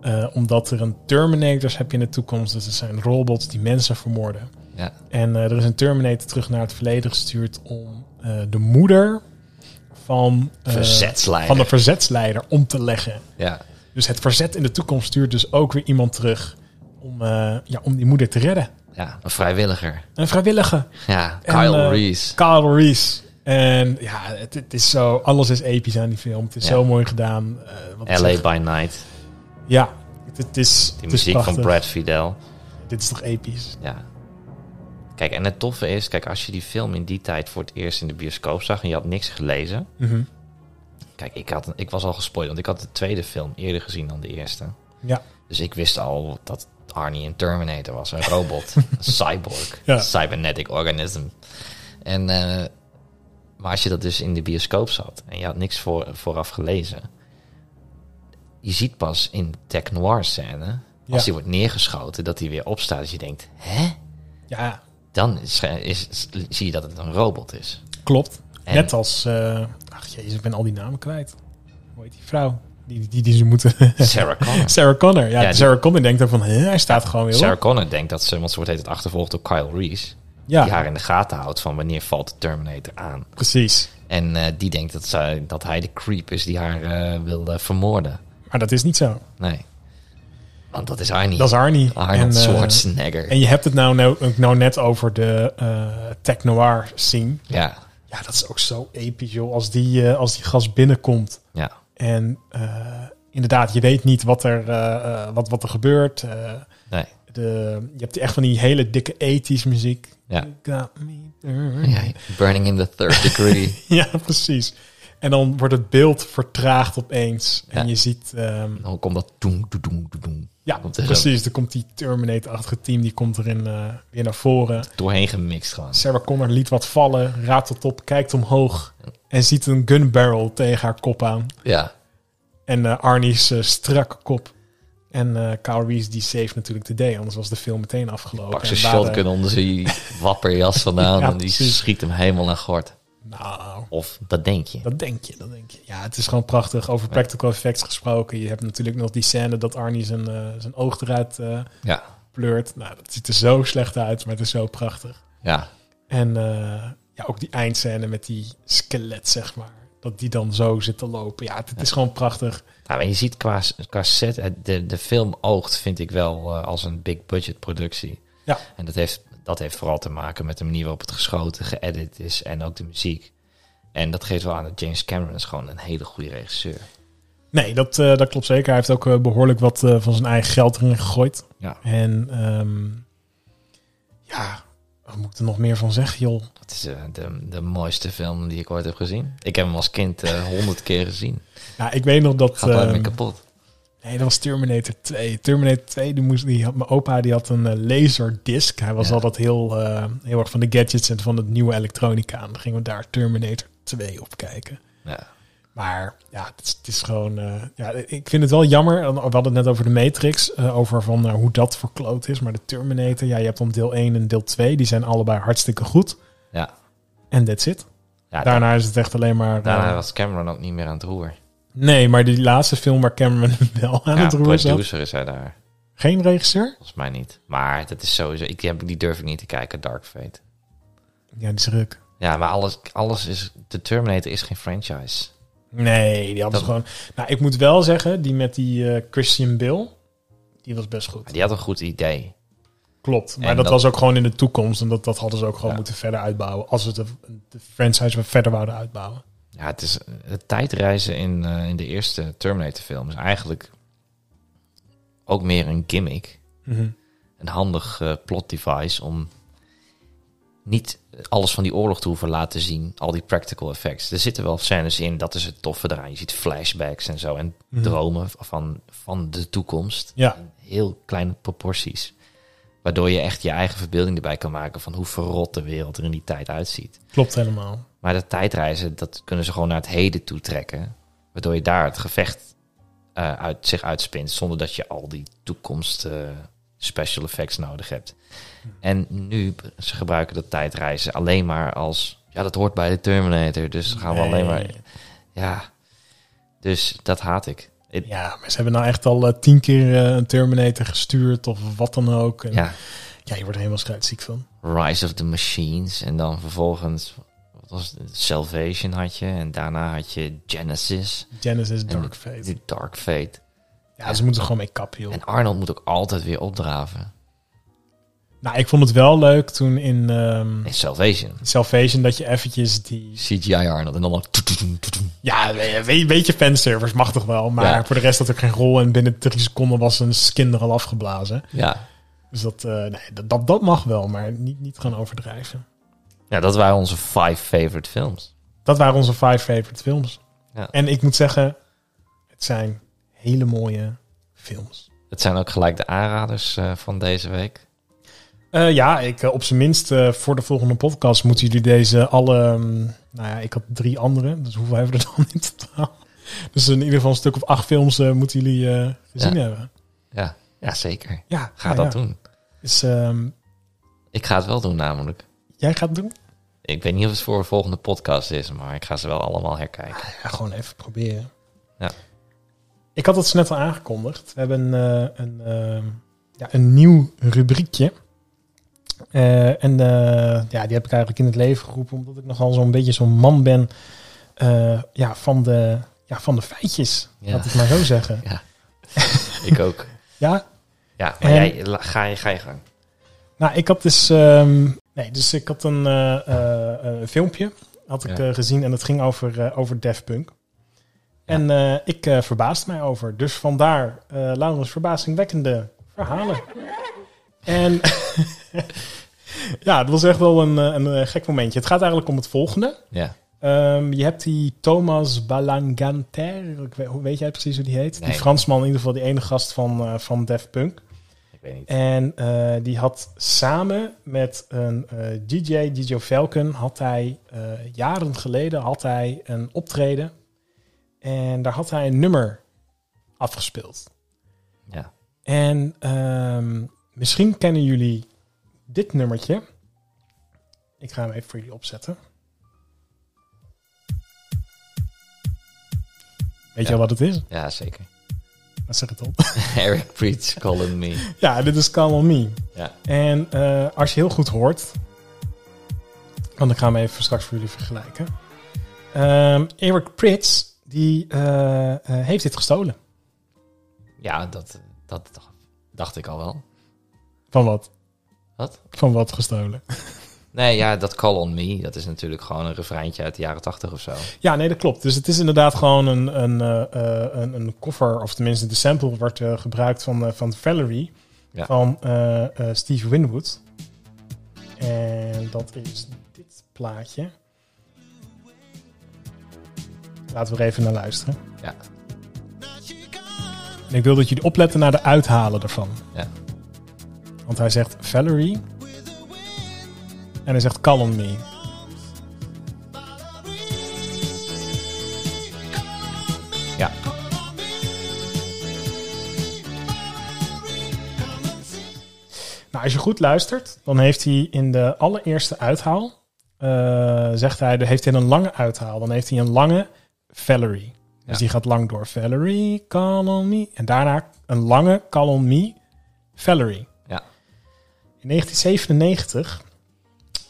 S1: Eh, omdat er een Terminators heb je in de toekomst. Dus er zijn robots die mensen vermoorden.
S2: Ja.
S1: En eh, er is een Terminator terug naar het verleden gestuurd om eh, de moeder van, eh,
S2: Verzetsleider.
S1: van de verzetsleider om te leggen.
S2: Ja.
S1: Dus het verzet in de toekomst stuurt dus ook weer iemand terug om, eh, ja, om die moeder te redden.
S2: ja, een vrijwilliger.
S1: Een vrijwillige.
S2: Ja,
S1: En,
S2: Kyle
S1: eh,
S2: Reese.
S1: Kyle Reese. En ja, het, het is zo, alles is episch aan die film. Het is
S2: Ja.
S1: zo mooi gedaan. Eh, wat ik
S2: LA
S1: zeg.
S2: by Night.
S1: Ja, het, het is,
S2: Die
S1: het is
S2: muziek van
S1: prachtig.
S2: Brad Fidel.
S1: Dit is toch episch?
S2: Ja. Kijk, en het toffe is, kijk, als je die film in die tijd voor het eerst in de bioscoop zag en je had niks gelezen.
S1: Mhm.
S2: Kijk, ik, had, ik was al gespoild, want ik had de tweede film eerder gezien dan de eerste.
S1: Ja.
S2: Dus ik wist al dat Arnie een Terminator was, een
S1: (laughs)
S2: robot, een cyborg,
S1: Ja.
S2: cybernetic organism. En, eh, maar als je dat dus in de bioscoop zat en je had niks voor, vooraf gelezen, je ziet pas in de tech noir scène,
S1: Ja.
S2: als hij wordt neergeschoten, dat hij weer opstaat. Dus je denkt, hè?
S1: ja, (laughs)
S2: Dan is, is- zie je dat het een robot is.
S1: klopt.
S2: En-
S1: Net als... eh, ach jezus, ik ben al die namen kwijt. Hoe heet die vrouw? Die, die, die ze moeten... (laughs)
S2: Sarah Connor.
S1: Sarah Connor. Ja,
S2: Ja, die-
S1: Sarah Connor denkt dan van... hè, hij staat gewoon weer op.
S2: Sarah Connor denkt dat ze, want ze wordt het achtervolgd door Kyle Reese.
S1: ja,
S2: Die haar in de gaten houdt van wanneer valt de Terminator aan.
S1: precies.
S2: En eh, die denkt dat, zij, dat hij de creep is die haar eh, wil eh, vermoorden.
S1: Maar dat is niet zo.
S2: Nee. Want dat is Arnie.
S1: Dat is Arnie.
S2: Arnold
S1: eh,
S2: Schwarzenegger.
S1: en je hebt het nou, nou, ook nou net over de eh tech-noir scene.
S2: ja,
S1: Ja, dat is ook zo episch, joh. Als die, eh, als die gast binnenkomt.
S2: ja.
S1: En eh, inderdaad, je weet niet wat er, eh, eh, wat, wat er gebeurt. Eh,
S2: Nee.
S1: de, je hebt echt van die hele dikke ethische muziek.
S2: Ja.
S1: You got me burning.
S2: ja. Burning in the third degree.
S1: (laughs) ja, precies. En dan wordt het beeld vertraagd opeens. En
S2: Ja.
S1: je ziet... ehm,
S2: En dan komt dat doen, doen, doen, doen.
S1: ja,
S2: Komt er zo.
S1: precies. Dan komt die Terminator-achtige team die komt erin eh, weer naar voren.
S2: Doorheen gemixt gewoon.
S1: Sarah Connor liet wat vallen, raadt het op, kijkt omhoog... en ziet een gun barrel tegen haar kop aan.
S2: Ja.
S1: En eh, Arnie's eh, strakke kop. En eh Kyle Reese die save natuurlijk de day. Anders was de film meteen afgelopen.
S2: Pak
S1: En
S2: zijn
S1: waren-
S2: shotgun onder zijn
S1: (laughs)
S2: wapperjas vandaan.
S1: Ja,
S2: en die
S1: precies.
S2: schiet hem helemaal naar gort.
S1: Nou,
S2: Of dat denk je.
S1: dat denk je, dat denk je. Ja, het is gewoon prachtig. Over practical effects gesproken. Je hebt natuurlijk nog die scène dat Arnie zijn, eh, zijn oog eruit eh,
S2: Ja.
S1: pleurt. Nou, dat ziet er zo slecht uit, maar het is zo prachtig.
S2: Ja.
S1: En eh, ja, ook die eindscène met die skelet, zeg maar. Dat die dan zo zit te lopen. Ja, het, het is gewoon prachtig.
S2: Nou, en je ziet qua, qua set, het- de, de film oogt, vind ik wel, eh, als een big budget productie.
S1: Ja.
S2: En dat heeft, dat heeft vooral te maken met de manier waarop het geschoten, geëdit is en ook de muziek. En dat geeft wel aan dat James Cameron is gewoon een hele goede regisseur.
S1: Nee, dat, eh, dat klopt zeker. Hij heeft ook eh, behoorlijk wat eh, van zijn eigen geld erin gegooid.
S2: Ja.
S1: En ehm, ja, wat moet ik er nog meer van zeggen, joh?
S2: Dat is eh, de, de mooiste film die ik ooit heb gezien. Ik heb hem als kind eh,
S1: (laughs)
S2: honderd keer gezien.
S1: Ja, ik weet nog dat...
S2: Gaat nooit
S1: ehm,
S2: meer kapot.
S1: nee, dat was Terminator 2. Terminator 2, die moest, die had, mijn opa die had een eh, laserdisc. Hij was
S2: Ja.
S1: altijd heel, eh, heel erg van de gadgets en van het nieuwe elektronica. En dan gingen we daar Terminator 2 op kijken.
S2: Ja.
S1: Maar ja, het is, het is gewoon... eh, ja, ik vind het wel jammer. We hadden het net over de Matrix. eh, over van eh, hoe dat verkloot is. Maar de Terminator, ja, je hebt dan deel 1 en deel 2. Die zijn allebei hartstikke goed.
S2: Ja.
S1: En that's it.
S2: Ja, daarna,
S1: Daarna is het echt alleen maar. eh,
S2: was Cameron ook niet meer aan het roer.
S1: nee, maar die laatste film waar Cameron (laughs) wel aan
S2: ja,
S1: het roer zat.
S2: producer is hij daar.
S1: Geen regisseur?
S2: Volgens mij niet. Maar dat is sowieso... Ik, die heb- die durf ik niet te kijken, Dark Fate.
S1: Ja, die is ruk.
S2: Ja, maar alles, alles is. De Terminator is geen franchise.
S1: Nee, die hadden
S2: Dat-
S1: ze gewoon. Nou, ik moet wel zeggen, die met die eh, Christian Bill. Die was best
S2: Maar
S1: goed.
S2: Die had een goed idee.
S1: Klopt. Maar
S2: En
S1: dat,
S2: dat-
S1: was ook gewoon in de toekomst. En dat, dat hadden ze ook gewoon
S2: Ja.
S1: moeten verder uitbouwen. Als we de, de franchise weer verder wouden uitbouwen.
S2: Ja, het is. Het tijdreizen in, eh, in de eerste Terminator-film is eigenlijk ook meer een gimmick.
S1: Mhm.
S2: Een handig eh, plot device om niet alles van die oorlog te hoeven laten zien. Al die practical effects. Er zitten wel scènes in, dat is het toffe eraan. Je ziet flashbacks en zo. En
S1: Mhm.
S2: dromen van, van de toekomst.
S1: Ja.
S2: heel kleine proporties. Waardoor je echt je eigen verbeelding erbij kan maken van hoe verrot de wereld er in die tijd uitziet.
S1: Klopt helemaal.
S2: Maar dat tijdreizen, dat kunnen ze gewoon naar het heden toe trekken. Waardoor je daar het gevecht eh, uit zich uitspint. Zonder dat je al die toekomst eh, special effects nodig hebt.
S1: Hm.
S2: En nu, ze gebruiken dat tijdreizen alleen maar als... Ja, dat hoort bij de Terminator, dus gaan we alleen maar...
S1: Nee.
S2: Ja, dus dat haat ik. Het-
S1: Ja, maar ze hebben nou echt al eh, tien keer eh, een Terminator gestuurd of wat dan ook. En, ja.
S2: ja.
S1: je wordt er helemaal scheidsziek van.
S2: Rise of the Machines. En dan vervolgens wat was het? Salvation had je. En daarna had je Genesis.
S1: Genesis Dark
S2: En
S1: Fate.
S2: Die Dark Fate.
S1: Ja, ze moeten er gewoon mee kappen, joh.
S2: En Arnold moet ook altijd weer opdraven.
S1: Nou, ik vond het wel leuk toen in ehm,
S2: In Salvation.
S1: Salvation dat je eventjes die...
S2: CGI Arnold. En dan al... toetoetoen, toetoen.
S1: Ja, we- we- een beetje fanservice mag toch wel. Maar
S2: Ja.
S1: voor de rest had ik geen rol. En binnen drie seconden was een skin er al afgeblazen.
S2: Ja.
S1: Dus dat, eh, nee, dat, dat, dat mag wel, maar niet, niet gaan overdrijven.
S2: ja, dat waren onze five favorite films.
S1: Dat waren onze five favorite films.
S2: Ja.
S1: En ik moet zeggen, het zijn hele mooie films.
S2: Het zijn ook gelijk de aanraders eh, van deze week.
S1: Eh, ja, ik, eh, op zijn minst eh, voor de volgende podcast moeten jullie deze alle... mm, nou ja, ik had drie andere, dus hoeveel hebben we er dan (laughs) in totaal? Dus in ieder geval een stuk of acht films eh, moeten jullie eh, gezien
S2: Ja.
S1: hebben.
S2: Ja, ja zeker.
S1: Ja,
S2: Ga
S1: nou
S2: dat
S1: ja.
S2: doen.
S1: Dus, ehm,
S2: Ik ga het wel doen namelijk.
S1: jij gaat het doen?
S2: Ik weet niet of het voor een volgende podcast is, maar ik ga ze wel allemaal herkijken.
S1: Ja, gewoon even proberen.
S2: Ja.
S1: Ik had het zo net al aangekondigd. We hebben eh, een, eh, ja, een nieuw rubriekje. Eh, en eh, ja, die heb ik eigenlijk in het leven geroepen, omdat ik nogal zo'n beetje zo'n man ben eh, ja, van, de, ja, van de feitjes.
S2: Ja.
S1: Laat ik het maar zo zeggen.
S2: (laughs) Ik ook.
S1: Ja,
S2: Ja,
S1: En-
S2: maar jij, la- ga, je, ga je gang.
S1: Nou, ik had dus. ehm, nee, dus ik had een eh, eh, eh, filmpje had ik
S2: Ja.
S1: eh, gezien en dat ging over, eh, over Def Punk.
S2: Ja.
S1: En eh, ik eh verbaasde mij over. Dus vandaar eh Laurens verbazingwekkende verhalen. En (laughs) ja, het was echt wel een, eh, een eh, gek momentje. Het gaat eigenlijk om het volgende.
S2: Ja.
S1: Ehm, je hebt die Thomas Balanganter. Ik weet, hoe- weet jij precies hoe die heet?
S2: Nee.
S1: Die Fransman, in ieder geval die ene gast van, eh van Def Punk.
S2: Ik weet niet.
S1: En eh, die had samen met een eh, DJ, DJ Falcon, had hij eh, jaren geleden had hij een optreden. En daar had hij een nummer afgespeeld.
S2: Ja.
S1: En ehm, misschien kennen jullie dit nummertje. Ik ga hem even voor jullie opzetten. Weet je
S2: Ja.
S1: al wat het is?
S2: ja, zeker. (laughs)
S1: Dan Zeg het op.
S2: Eric Preach, calling me.
S1: ja, dit is Calm On Me.
S2: Ja.
S1: En eh, als je heel goed hoort, want ik ga hem even straks voor jullie vergelijken. Ehm, Eric Prits, die eh, eh, heeft dit gestolen.
S2: Ja, dat, dat dacht- dacht ik al wel.
S1: Van wat?
S2: Wat?
S1: Van wat gestolen?
S2: Nee, ja, dat Call on Me, dat is natuurlijk gewoon een refreintje uit de jaren tachtig of zo.
S1: Ja, nee, dat klopt. Dus het is inderdaad gewoon een, een, eh, eh, een, een koffer, of tenminste de sample wordt eh, gebruikt van, eh, van Valerie,
S2: Ja.
S1: van eh, eh, Steve Winwood. En dat is dit plaatje. Laten we er even naar luisteren.
S2: Ja.
S1: En ik wil dat jullie opletten naar de uithalen ervan.
S2: Ja.
S1: Want hij zegt Valerie. En hij zegt Call on me.
S2: Ja.
S1: Nou, als je goed luistert, dan heeft hij in de allereerste uithaal, eh, zegt hij, heeft hij een lange uithaal. Dan heeft hij een lange Valerie. Dus
S2: Ja.
S1: die gaat lang door Valerie, call on me. En daarna een lange call on me, Valerie.
S2: Ja.
S1: In 1997,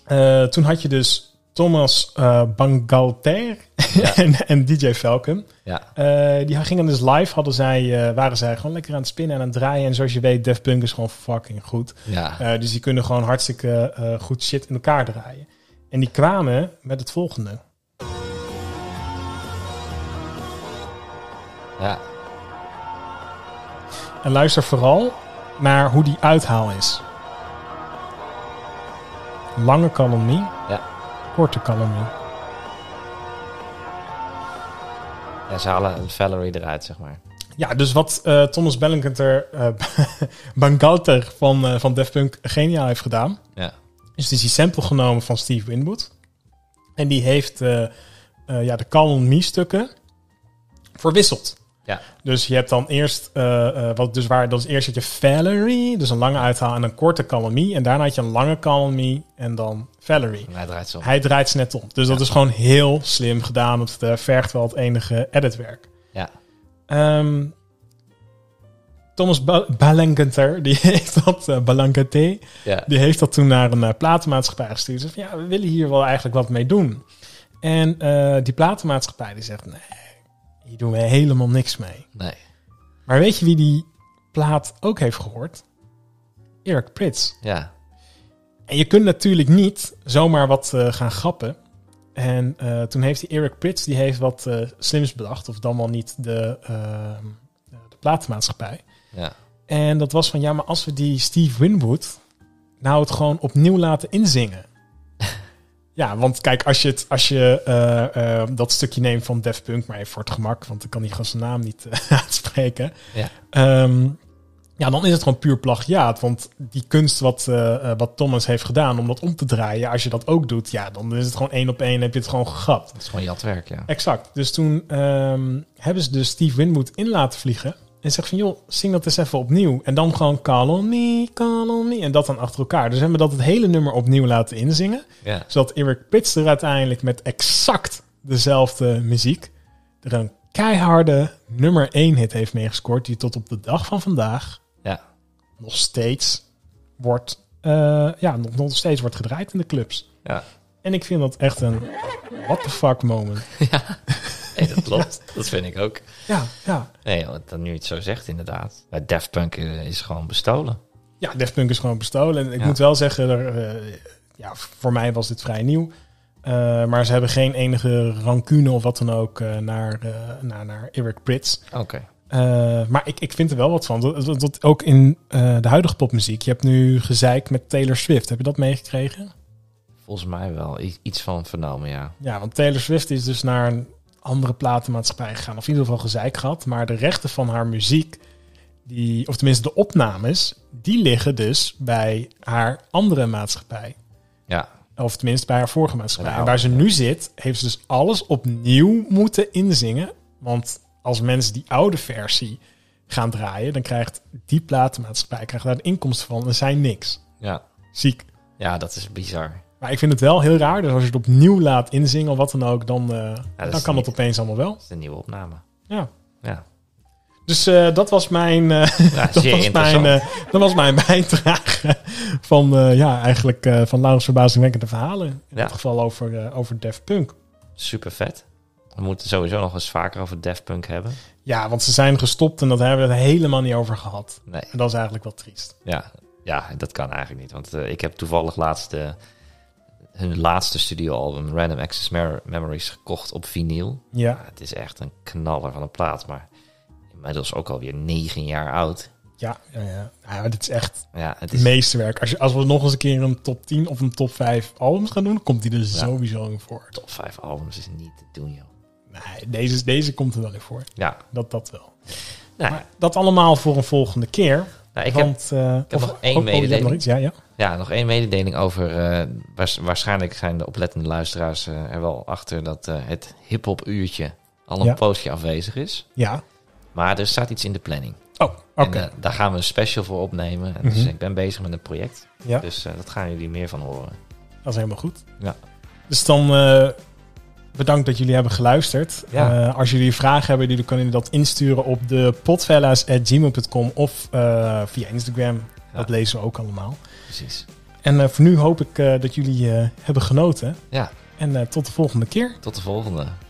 S1: eh, toen had je dus Thomas eh, Bangalter
S2: (laughs) Ja.
S1: en, en DJ Falcon.
S2: Ja.
S1: Eh, die gingen dus live, hadden zij, eh, waren zij gewoon lekker aan het spinnen en aan het draaien. En zoals je weet, Def Punk is gewoon fucking goed.
S2: Ja.
S1: Eh, dus die kunnen gewoon hartstikke eh, goed shit in elkaar draaien. En die kwamen met het volgende.
S2: ja.
S1: En luister vooral naar hoe die uithaal is. Lange calomnie,
S2: Ja.
S1: korte calomnie.
S2: Ja, ze halen Valerie eruit, zeg maar.
S1: Ja, dus wat eh, Thomas Bellinger, eh (laughs) Bangalter van, eh van Def Punk geniaal heeft gedaan,
S2: Ja.
S1: is dus die sample genomen van Steve Winwood. En die heeft eh, eh, ja, de calomnie stukken verwisseld.
S2: Ja.
S1: Dus je hebt dan eerst, eh, eh, wat dus waar, dat is eerst had je Valerie, dus een lange uithaal en een korte calomnie. En daarna had je een lange calomnie en dan Valerie.
S2: En hij draait ze om.
S1: Hij draait ze net om. Dus dat is gewoon heel slim gedaan. Dat eh, vergt wel het enige editwerk.
S2: Ja.
S1: Ehm, Thomas ba Balangenter, die (laughs) heeft dat, eh Balangente,
S2: Ja.
S1: die heeft dat toen naar een eh, platenmaatschappij gestuurd. Ze Zei van, ja, we willen hier wel eigenlijk wat mee doen. En eh, die platenmaatschappij die zegt, nee, hier doen we helemaal niks mee.
S2: Nee.
S1: Maar weet je wie die plaat ook heeft gehoord? Erik Prits.
S2: Ja.
S1: En je kunt natuurlijk niet zomaar wat eh, gaan grappen. En eh, toen heeft die Eric Prits die heeft wat eh, slims bedacht. Of dan wel niet de, ehm, de platenmaatschappij.
S2: Ja.
S1: En dat was van, ja, maar als we die Steve Winwood nou het gewoon opnieuw laten inzingen. ja, want kijk, als je, het, als je eh, eh, dat stukje neemt van Def Punk, maar even voor het gemak, want ik kan die gast zijn naam niet eh, (laughs) uitspreken.
S2: Ja.
S1: Ehm, ja, dan is het gewoon puur plagiaat. Want die kunst wat, eh, eh, wat Thomas heeft gedaan om dat om te draaien, als je dat ook doet, ja, dan is het gewoon één op één, heb je het gewoon gegrapt.
S2: Dat is gewoon jatwerk, ja.
S1: Exact. Dus toen ehm, hebben ze dus Steve Winwood in laten vliegen. En En zeg van, joh, zing dat eens even opnieuw. En dan gewoon call on me, call on me. En dat dan achter elkaar. Dus hebben we dat het hele nummer opnieuw laten inzingen.
S2: Ja.
S1: Zodat Eric Pits er uiteindelijk met exact dezelfde muziek... er een keiharde nummer 1 hit heeft meegescoord... die tot op de dag van vandaag
S2: Ja.
S1: nog steeds wordt... eh, ja, nog, nog steeds wordt gedraaid in de clubs.
S2: Ja.
S1: En ik vind dat echt een what the fuck moment.
S2: Nee, dat klopt. (laughs) Dat vind ik ook.
S1: Ja, ja.
S2: Nee, wat dan nu je het zo zegt, inderdaad. Maar Daft Punk eh, is gewoon bestolen.
S1: Ja, Daft Punk is gewoon bestolen. En ik
S2: Ja.
S1: moet wel zeggen, er, eh, ja, voor mij was dit vrij nieuw. Eh, maar ze hebben geen enige rancune of wat dan ook eh, naar, eh, naar, naar Eric Prits.
S2: Oké.
S1: Eh, maar ik, ik vind er wel wat van. Dat, dat, dat ook in eh, de huidige popmuziek. Je hebt nu gezeik met Taylor Swift. Heb je dat meegekregen?
S2: Volgens mij wel. I- iets van vernomen, ja.
S1: Ja, want Taylor Swift is dus naar een andere platenmaatschappij gegaan. Of in ieder geval gezeik gehad. Maar de rechten van haar muziek, die, of tenminste de opnames, die liggen dus bij haar andere maatschappij.
S2: Ja.
S1: Of tenminste bij haar vorige maatschappij.
S2: Nou.
S1: En waar ze nu zit, heeft ze dus alles opnieuw moeten inzingen. Want als mensen die oude versie gaan draaien, dan krijgt die platenmaatschappij krijgt daar de inkomsten van en zij niks.
S2: Ja.
S1: Ziek.
S2: Ja, dat is bizar.
S1: Maar ik vind het wel heel raar. Dus als je het opnieuw laat inzingen of wat dan ook, dan, eh,
S2: is
S1: dan kan
S2: niet-
S1: dat opeens allemaal wel.
S2: Dat is een nieuwe opname.
S1: Ja.
S2: Ja.
S1: Dus eh, dat was mijn, eh, (laughs)
S2: Ja,
S1: dat
S2: zeer
S1: was mijn,
S2: interessant.
S1: eh, dat was mijn (laughs) bijdrage van, eh, ja, eigenlijk eh, van Laurens verbazingwekkende verhalen. In
S2: Ja.
S1: dit geval over, eh, over Def Punk.
S2: Super vet. We moeten sowieso nog eens vaker over Daft Punk hebben.
S1: Ja, want ze zijn gestopt en dat hebben we het helemaal niet over gehad.
S2: Nee.
S1: En dat is eigenlijk wel triest.
S2: Ja, ja dat kan eigenlijk niet. Want eh, ik heb toevallig laatst eh, hun laatste studioalbum, Random Access Mer- Memories, gekocht op vinyl.
S1: Ja,
S2: Ja, het is echt een knaller van een plaat, maar inmiddels ook alweer negen jaar oud.
S1: ja, ja. ja. ja maar dit is echt
S2: Ja, het
S1: het
S2: is,
S1: meesterwerk. Als, je, als we nog eens een keer een top 10 of een top 5 albums gaan doen, dan komt die er sowieso in voor.
S2: top vijf albums is niet te doen, joh.
S1: Nee, deze, deze komt er wel in voor.
S2: Ja,
S1: Dat, dat wel.
S2: nou,
S1: Maar dat allemaal voor een volgende keer.
S2: nou, ik heb
S1: want, eh,
S2: heb
S1: of-
S2: nog één
S1: oh, oh, je hebt
S2: mededeling.
S1: nog iets? Ja, ja.
S2: ja, nog één mededeling over... eh, waars- waarschijnlijk zijn de oplettende luisteraars eh, er wel achter dat eh, het hip-hop uurtje al een
S1: Ja.
S2: poosje afwezig is.
S1: ja.
S2: Maar er staat iets in de planning.
S1: Oh, oké.
S2: En, eh, daar gaan we een special voor opnemen. En Dus
S1: Mhm.
S2: ik ben bezig met een project.
S1: Ja.
S2: Dus eh, dat gaan jullie meer van horen.
S1: Dat is helemaal goed.
S2: Ja.
S1: Dus dan eh, bedankt dat jullie hebben geluisterd.
S2: Ja.
S1: Eh, als jullie vragen hebben, jullie kunnen jullie dat insturen op de potfellas.gmail.com of eh, via Instagram.
S2: Ja.
S1: Dat lezen we ook allemaal.
S2: Precies.
S1: En eh, voor nu hoop ik eh, dat jullie eh, hebben genoten.
S2: Ja.
S1: En eh, tot de volgende keer.
S2: Tot de volgende.